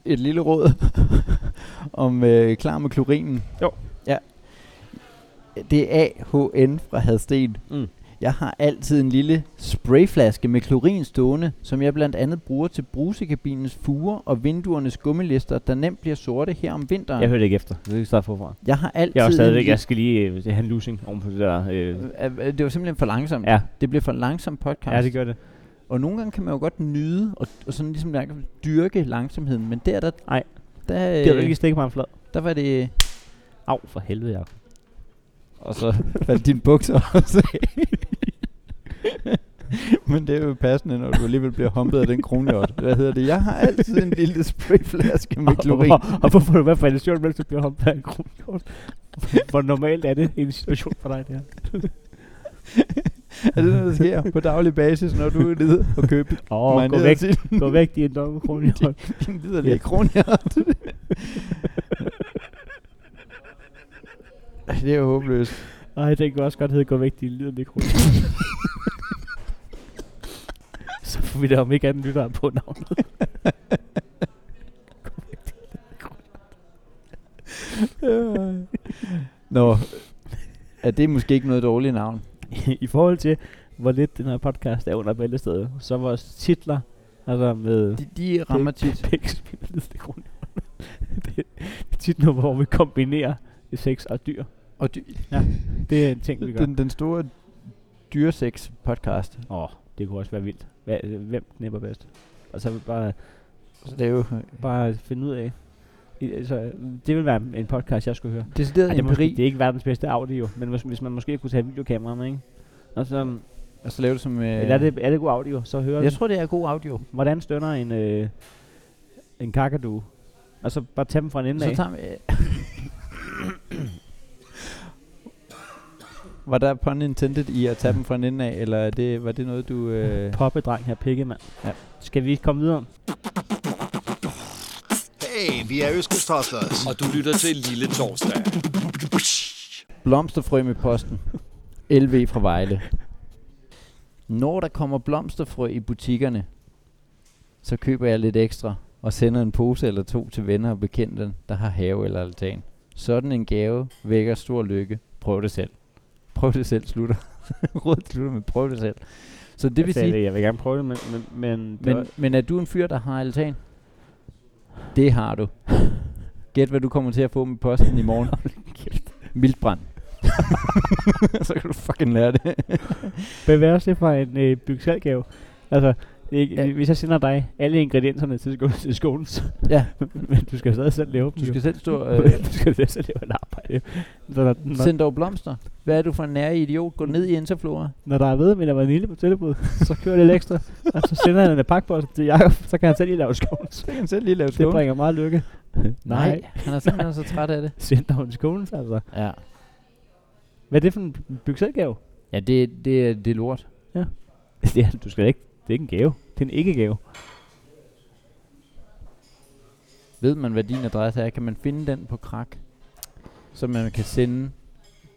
Speaker 2: et lille råd om øh, klar med klorinen?
Speaker 1: Jo.
Speaker 2: Ja. Det er AHN fra Hadsten.
Speaker 1: Mm.
Speaker 2: Jeg har altid en lille sprayflaske med klorin stående, som jeg blandt andet bruger til brusekabinens fuger og vinduernes gummilister, der nemt bliver sorte her om vinteren.
Speaker 1: Jeg hørte ikke efter. Det skal starte forfra.
Speaker 2: jeg har altid
Speaker 1: Jeg er også
Speaker 2: en
Speaker 1: stadigvæk,
Speaker 2: lille-
Speaker 1: jeg skal lige øh, have en losing oven på det der. Øh.
Speaker 2: Øh, øh, Det var simpelthen for langsomt.
Speaker 1: Ja.
Speaker 2: Det blev for langsom podcast.
Speaker 1: Ja, det gør det.
Speaker 2: Og nogle gange kan man jo godt nyde og, og sådan ligesom der kan dyrke langsomheden, men der der
Speaker 1: Nej.
Speaker 2: der,
Speaker 1: Gider du
Speaker 2: øh,
Speaker 1: ikke stikke mig en flad?
Speaker 2: der var det
Speaker 1: Au, for helvede, Jacob.
Speaker 2: og så faldt dine bukser også af. men det er jo passende, når du alligevel bliver humpet af den kronhjort. Hvad hedder det? Jeg har altid en lille sprayflaske med klorin.
Speaker 1: Og, og hvorfor er du i hvert fald en sjov, mens du bliver hoppet af en kronhjort? Hvor normalt er det en situation for dig, det her?
Speaker 2: er det noget, der sker på daglig basis, når du er nede og købe
Speaker 1: Åh, oh, gå
Speaker 2: marineret
Speaker 1: væk,
Speaker 2: til
Speaker 1: gå væk, de er en domme kronhjort.
Speaker 2: din liderlige kronhjort? det er jo håbløst.
Speaker 1: Ej, den kunne også godt hedde, gå væk, de lyder lidt kronhjort. Så får vi da om ikke andet lytter på navnet.
Speaker 2: Nå, er det måske ikke noget dårligt navn?
Speaker 1: I forhold til, hvor lidt den her podcast er under bæltestedet, så vores titler, altså med
Speaker 2: De, de rammer tit.
Speaker 1: pækspil, det kronhjort. Det er tit noget, hvor vi kombinerer sex og dyr.
Speaker 2: Og dy,
Speaker 1: Det er en ting, vi gør.
Speaker 2: den, den store dyresex podcast,
Speaker 1: Åh, oh, det kunne også være vildt. Hva, hvem knipper bedst? Og så bare,
Speaker 2: det er jo
Speaker 1: bare finde ud af. I- Altså, det ville være en podcast, jeg skulle høre.
Speaker 2: decideret
Speaker 1: Ej,
Speaker 2: Ej,
Speaker 1: det, er måske, det
Speaker 2: empiri,
Speaker 1: er ikke verdens bedste audio, men hvis, hvis man måske kunne tage videokamera med, ikke? Og så, øh.
Speaker 2: og så lave det som... Øh,
Speaker 1: Eller er det, er det god audio, så hører
Speaker 2: jeg
Speaker 1: vi,
Speaker 2: tror, det er god audio.
Speaker 1: hvordan stønner en, øh, en kakadu. Og så bare tage dem fra en ende
Speaker 2: Så
Speaker 1: af.
Speaker 2: tager vi... Øh. Var der pun intended i at tage dem fra en ende af, eller er det, var det noget, du... Øh,
Speaker 1: Poppedreng her, pikke, mand.
Speaker 2: Ja.
Speaker 1: Skal vi komme videre?
Speaker 4: Hey, vi er Øskes Tosters.
Speaker 5: Og du lytter til Lille Torsdag.
Speaker 2: Blomsterfrø med posten. LV fra Vejle. Når der kommer blomsterfrø i butikkerne, så køber jeg lidt ekstra og sender en pose eller to til venner og bekendte, der har have eller altan. Sådan en gave vækker stor lykke. Prøv det selv. Prøv det selv slutter. Rådet slutter med prøv det selv. Så det vil
Speaker 1: jeg,
Speaker 2: sige,
Speaker 1: Altså, jeg vil gerne prøve det, men... men, men, det var-
Speaker 2: men, men er du en fyr, der har altan? Det har du. Gæt, hvad du kommer til at få med posten i morgen. Mildbrand. så kan du fucking lære det.
Speaker 1: Men hvad også det for en øh, bygselgave? Altså, det er ikke,
Speaker 2: Ja.
Speaker 1: hvis jeg sender dig alle ingredienserne til, sko- til skolen, så,
Speaker 2: ja,
Speaker 1: men du skal stadig selv lave dem.
Speaker 2: du skal
Speaker 1: jo.
Speaker 2: selv stå og øh,
Speaker 1: du skal stadig selv lave et arbejde. Så når, når,
Speaker 2: sende dog blomster. Hvad er du for en nære idiot? Gå ned i Interflora.
Speaker 1: når der er ved med vanilje på tilbud, så kører det lidt ekstra. og så sender han en pakpost til Jacob, så kan han selv lige lave scones.
Speaker 2: Så kan han selv lige lave
Speaker 1: Det bringer meget lykke.
Speaker 2: Nej, han er simpelthen så træt af det.
Speaker 1: Send dig en scones, altså.
Speaker 2: Ja,
Speaker 1: Hvad er det for en bygselgave?
Speaker 2: ja det, det, er- det er lort.
Speaker 1: det er, du skal ikke. Det er ikke en gave. Det er en ikke-gave.
Speaker 2: Ved man, hvad din adresse er, kan man finde den på krak, så man kan sende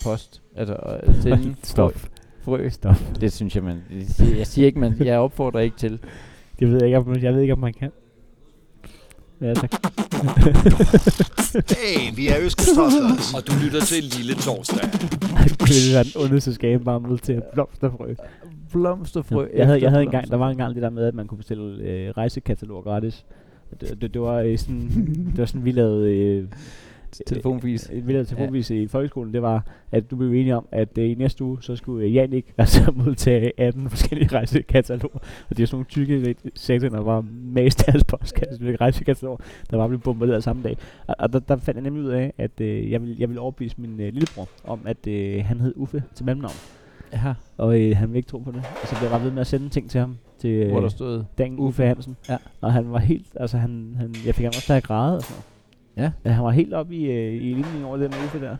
Speaker 2: post. Altså øh, sende
Speaker 1: Stop.
Speaker 2: frø. frø.
Speaker 1: Stop.
Speaker 2: Det synes jeg, man... Jeg siger- Jeg siger ikke, man... Jeg opfordrer ikke til.
Speaker 1: Det ved jeg ikke, om, jeg ved ikke, om man kan. Ja, tak.
Speaker 4: Hey, vi er Øskes Tosters.
Speaker 5: Og du lytter til Lille Torsdag.
Speaker 1: Det ville være den ondeste skabemamle til blomsterfrø.
Speaker 2: Blomsterfrø.
Speaker 1: Jeg havde, jeg
Speaker 2: efter
Speaker 1: havde engang, der
Speaker 2: blomster.
Speaker 1: var engang det der med, at man kunne bestille øh, rejsekataloger gratis. Og Det, det, det, var øh, sådan, det var sådan, vi lavede øh,
Speaker 2: telefonfis.
Speaker 1: et vildere telefonvis ja. i folkeskolen, det var, at du blev enige om, at øh, i næste uge, så skulle øh, Janik altså modtage 18 forskellige rejsekataloger. Og det er sådan nogle tykke lidt sektorer, der var mest af hans postkasse med rejsekataloger, der bare blev bombarderet samme dag. Og, og der, der fandt jeg nemlig ud af, at øh, jeg, ville, jeg ville overbevise min øh, lillebror om, at øh, han hed Uffe til mellemnavn.
Speaker 2: Ja,
Speaker 1: Og øh, han ville ikke tro på det. Og så blev jeg bare ved med at sende ting til ham. Til, øh,
Speaker 2: hvor der stod.
Speaker 1: Dan
Speaker 2: Uffe.
Speaker 1: Uffe Hansen.
Speaker 2: Ja.
Speaker 1: Og han var helt, altså han, han jeg fik ham også til at græde og sådan
Speaker 2: Ja.
Speaker 1: noget. Ja, han var helt oppe i, øh, i linjen over det med Uffe der.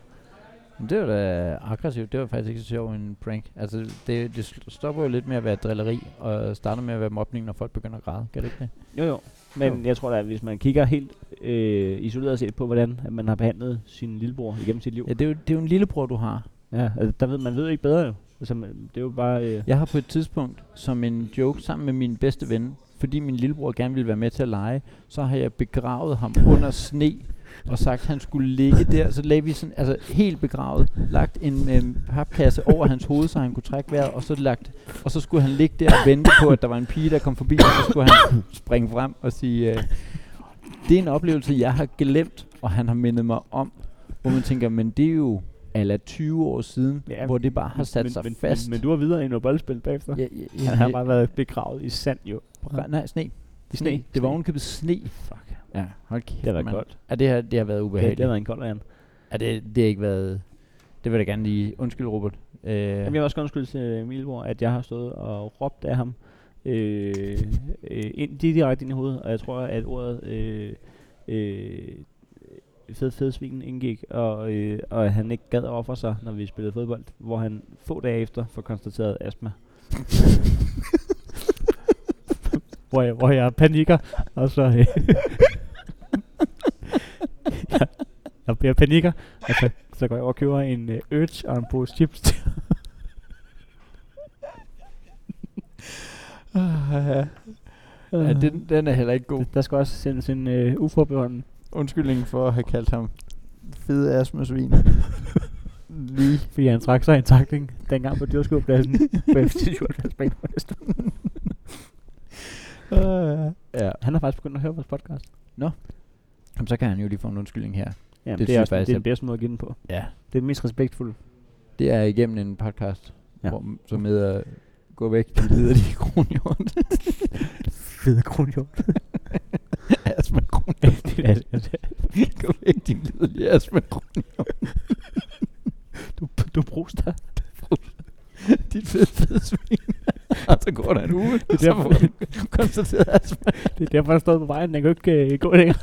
Speaker 2: Men det var da aggressivt. Det var faktisk ikke så sjovt en prank. Altså, det, det sl- stopper jo lidt med at være drilleri, og starter med at være mobning, når folk begynder at græde. Kan det ikke det?
Speaker 1: Jo jo. Men
Speaker 2: Jo.
Speaker 1: jo. jeg tror da, at hvis man kigger helt øh, isoleret set på, hvordan at man har behandlet sin lillebror igennem sit liv.
Speaker 2: Ja, det er jo, det er jo en lillebror, du har.
Speaker 1: Ja, altså, der ved man ved jo ikke bedre jo. Altså, man, det er jo bare... Øh,
Speaker 2: Jeg har på et tidspunkt, som en joke sammen med min bedste ven, fordi min lillebror gerne ville være med til at lege, så har jeg begravet ham under sne og sagt, at han skulle ligge der. Så lagde vi sådan, altså helt begravet, lagt en øh, papkasse over hans hoved, så han kunne trække vejret, og så, lagt, og så skulle han ligge der og vente på, at der var en pige, der kom forbi, og så skulle han springe frem og sige, øh, det er en oplevelse, jeg har glemt, og han har mindet mig om, hvor man tænker, men det er jo ala 20 år siden, ja,
Speaker 1: Ja,
Speaker 2: hvor det bare har sat
Speaker 1: men,
Speaker 2: sig
Speaker 1: men,
Speaker 2: fast.
Speaker 1: Men, men, du har videre i noget boldspil bagefter.
Speaker 2: Ja, ja, ja,
Speaker 1: Han har bare været begravet i sand jo.
Speaker 2: Bra- Nej, sne.
Speaker 1: I sne.
Speaker 2: Det var
Speaker 1: Sne.
Speaker 2: ovenkøbet sne.
Speaker 1: Fuck.
Speaker 2: Ja, hold kæft,
Speaker 1: Det har været
Speaker 2: mand.
Speaker 1: koldt.
Speaker 2: Ja, det har, det har været
Speaker 1: Ja, det
Speaker 2: ubehageligt.
Speaker 1: har været en kold an.
Speaker 2: Ja, det, det har ikke været... Det vil jeg da gerne lige... Undskyld, Robert. Øh,
Speaker 1: Jamen, jeg vil også gerne undskylde til min lillebror, at jeg har stået og råbt af ham øh, øh, ind, direkte ind i hovedet, og jeg tror, at ordet øh, øh, fed, fed svin indgik, og, øh, og han ikke gad at ofre sig, når vi spillede fodbold, hvor han få dage efter får konstateret astma. hvor, jeg, hvor jeg panikker, og så... Øh, jeg, jeg, jeg panikker, og så, så går jeg over og køber en øh, øl og en pose chips til
Speaker 2: ja. ja, den, den er heller ikke god.
Speaker 1: Ah, Der skal også sendes en øh, uforbeholden.
Speaker 2: Undskyldning for at have kaldt ham fede astmasvin. lige.
Speaker 1: Fordi han trak sig i en takling dengang på dyrskuepladsen.
Speaker 2: Uh, ja.
Speaker 1: han har faktisk begyndt at høre vores podcast.
Speaker 2: Jamen, så kan han jo lige få en undskyldning her.
Speaker 1: Ja, det,
Speaker 2: synes
Speaker 1: det
Speaker 2: jeg
Speaker 1: er også
Speaker 2: faktisk,
Speaker 1: det er den
Speaker 2: at-
Speaker 1: bedste måde at give den på.
Speaker 2: Ja.
Speaker 1: Det er den mest respektfulde.
Speaker 2: Det er igennem en podcast, ja.
Speaker 1: Ja.
Speaker 2: hvor, som hedder Gå væk, de leder de kronhjort.
Speaker 1: Fede kronhjort.
Speaker 2: Astma Gå væk, din lidelige astma
Speaker 1: du, du bruges dig.
Speaker 2: Dit fede, fede svin. og så går der en uge, det så
Speaker 1: derfor-
Speaker 2: får han konstateret astma.
Speaker 1: Det er derfor, der stod på vejen. Den kan jo ikke øh, gå længere.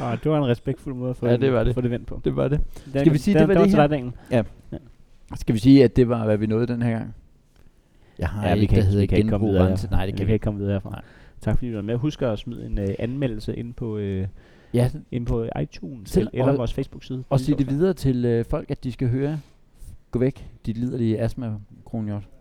Speaker 1: Og det var en respektfuld måde at få,
Speaker 2: Ja, det var det.
Speaker 1: få det vendt på.
Speaker 2: Det var det.
Speaker 1: Den,
Speaker 2: Skal vi sige,
Speaker 1: den,
Speaker 2: det var
Speaker 1: den
Speaker 2: det
Speaker 1: var
Speaker 2: her?
Speaker 1: til her?
Speaker 2: Skal vi sige, at det var, hvad vi nåede den her gang? Jeg har
Speaker 1: Ja, vi
Speaker 2: et,
Speaker 1: kan
Speaker 2: der
Speaker 1: ikke-
Speaker 2: hedder
Speaker 1: vi kan ikke komme
Speaker 2: genbrug
Speaker 1: videre
Speaker 2: og rense. Nej,
Speaker 1: Det
Speaker 2: det
Speaker 1: kan
Speaker 2: kan
Speaker 1: vi
Speaker 2: vi
Speaker 1: ikke komme videre herfra.
Speaker 2: Nej.
Speaker 1: Tak fordi du var med. Husk at smide en øh, anmeldelse ind på, øh,
Speaker 2: Ja,
Speaker 1: ind på iTunes
Speaker 2: Til-
Speaker 1: Til, eller
Speaker 2: og-
Speaker 1: vores Facebook-side.
Speaker 2: og
Speaker 1: Den
Speaker 2: sige
Speaker 1: står
Speaker 2: det videre til øh, folk, at de skal høre. Gå væk, dit liderlige astma kronhjort.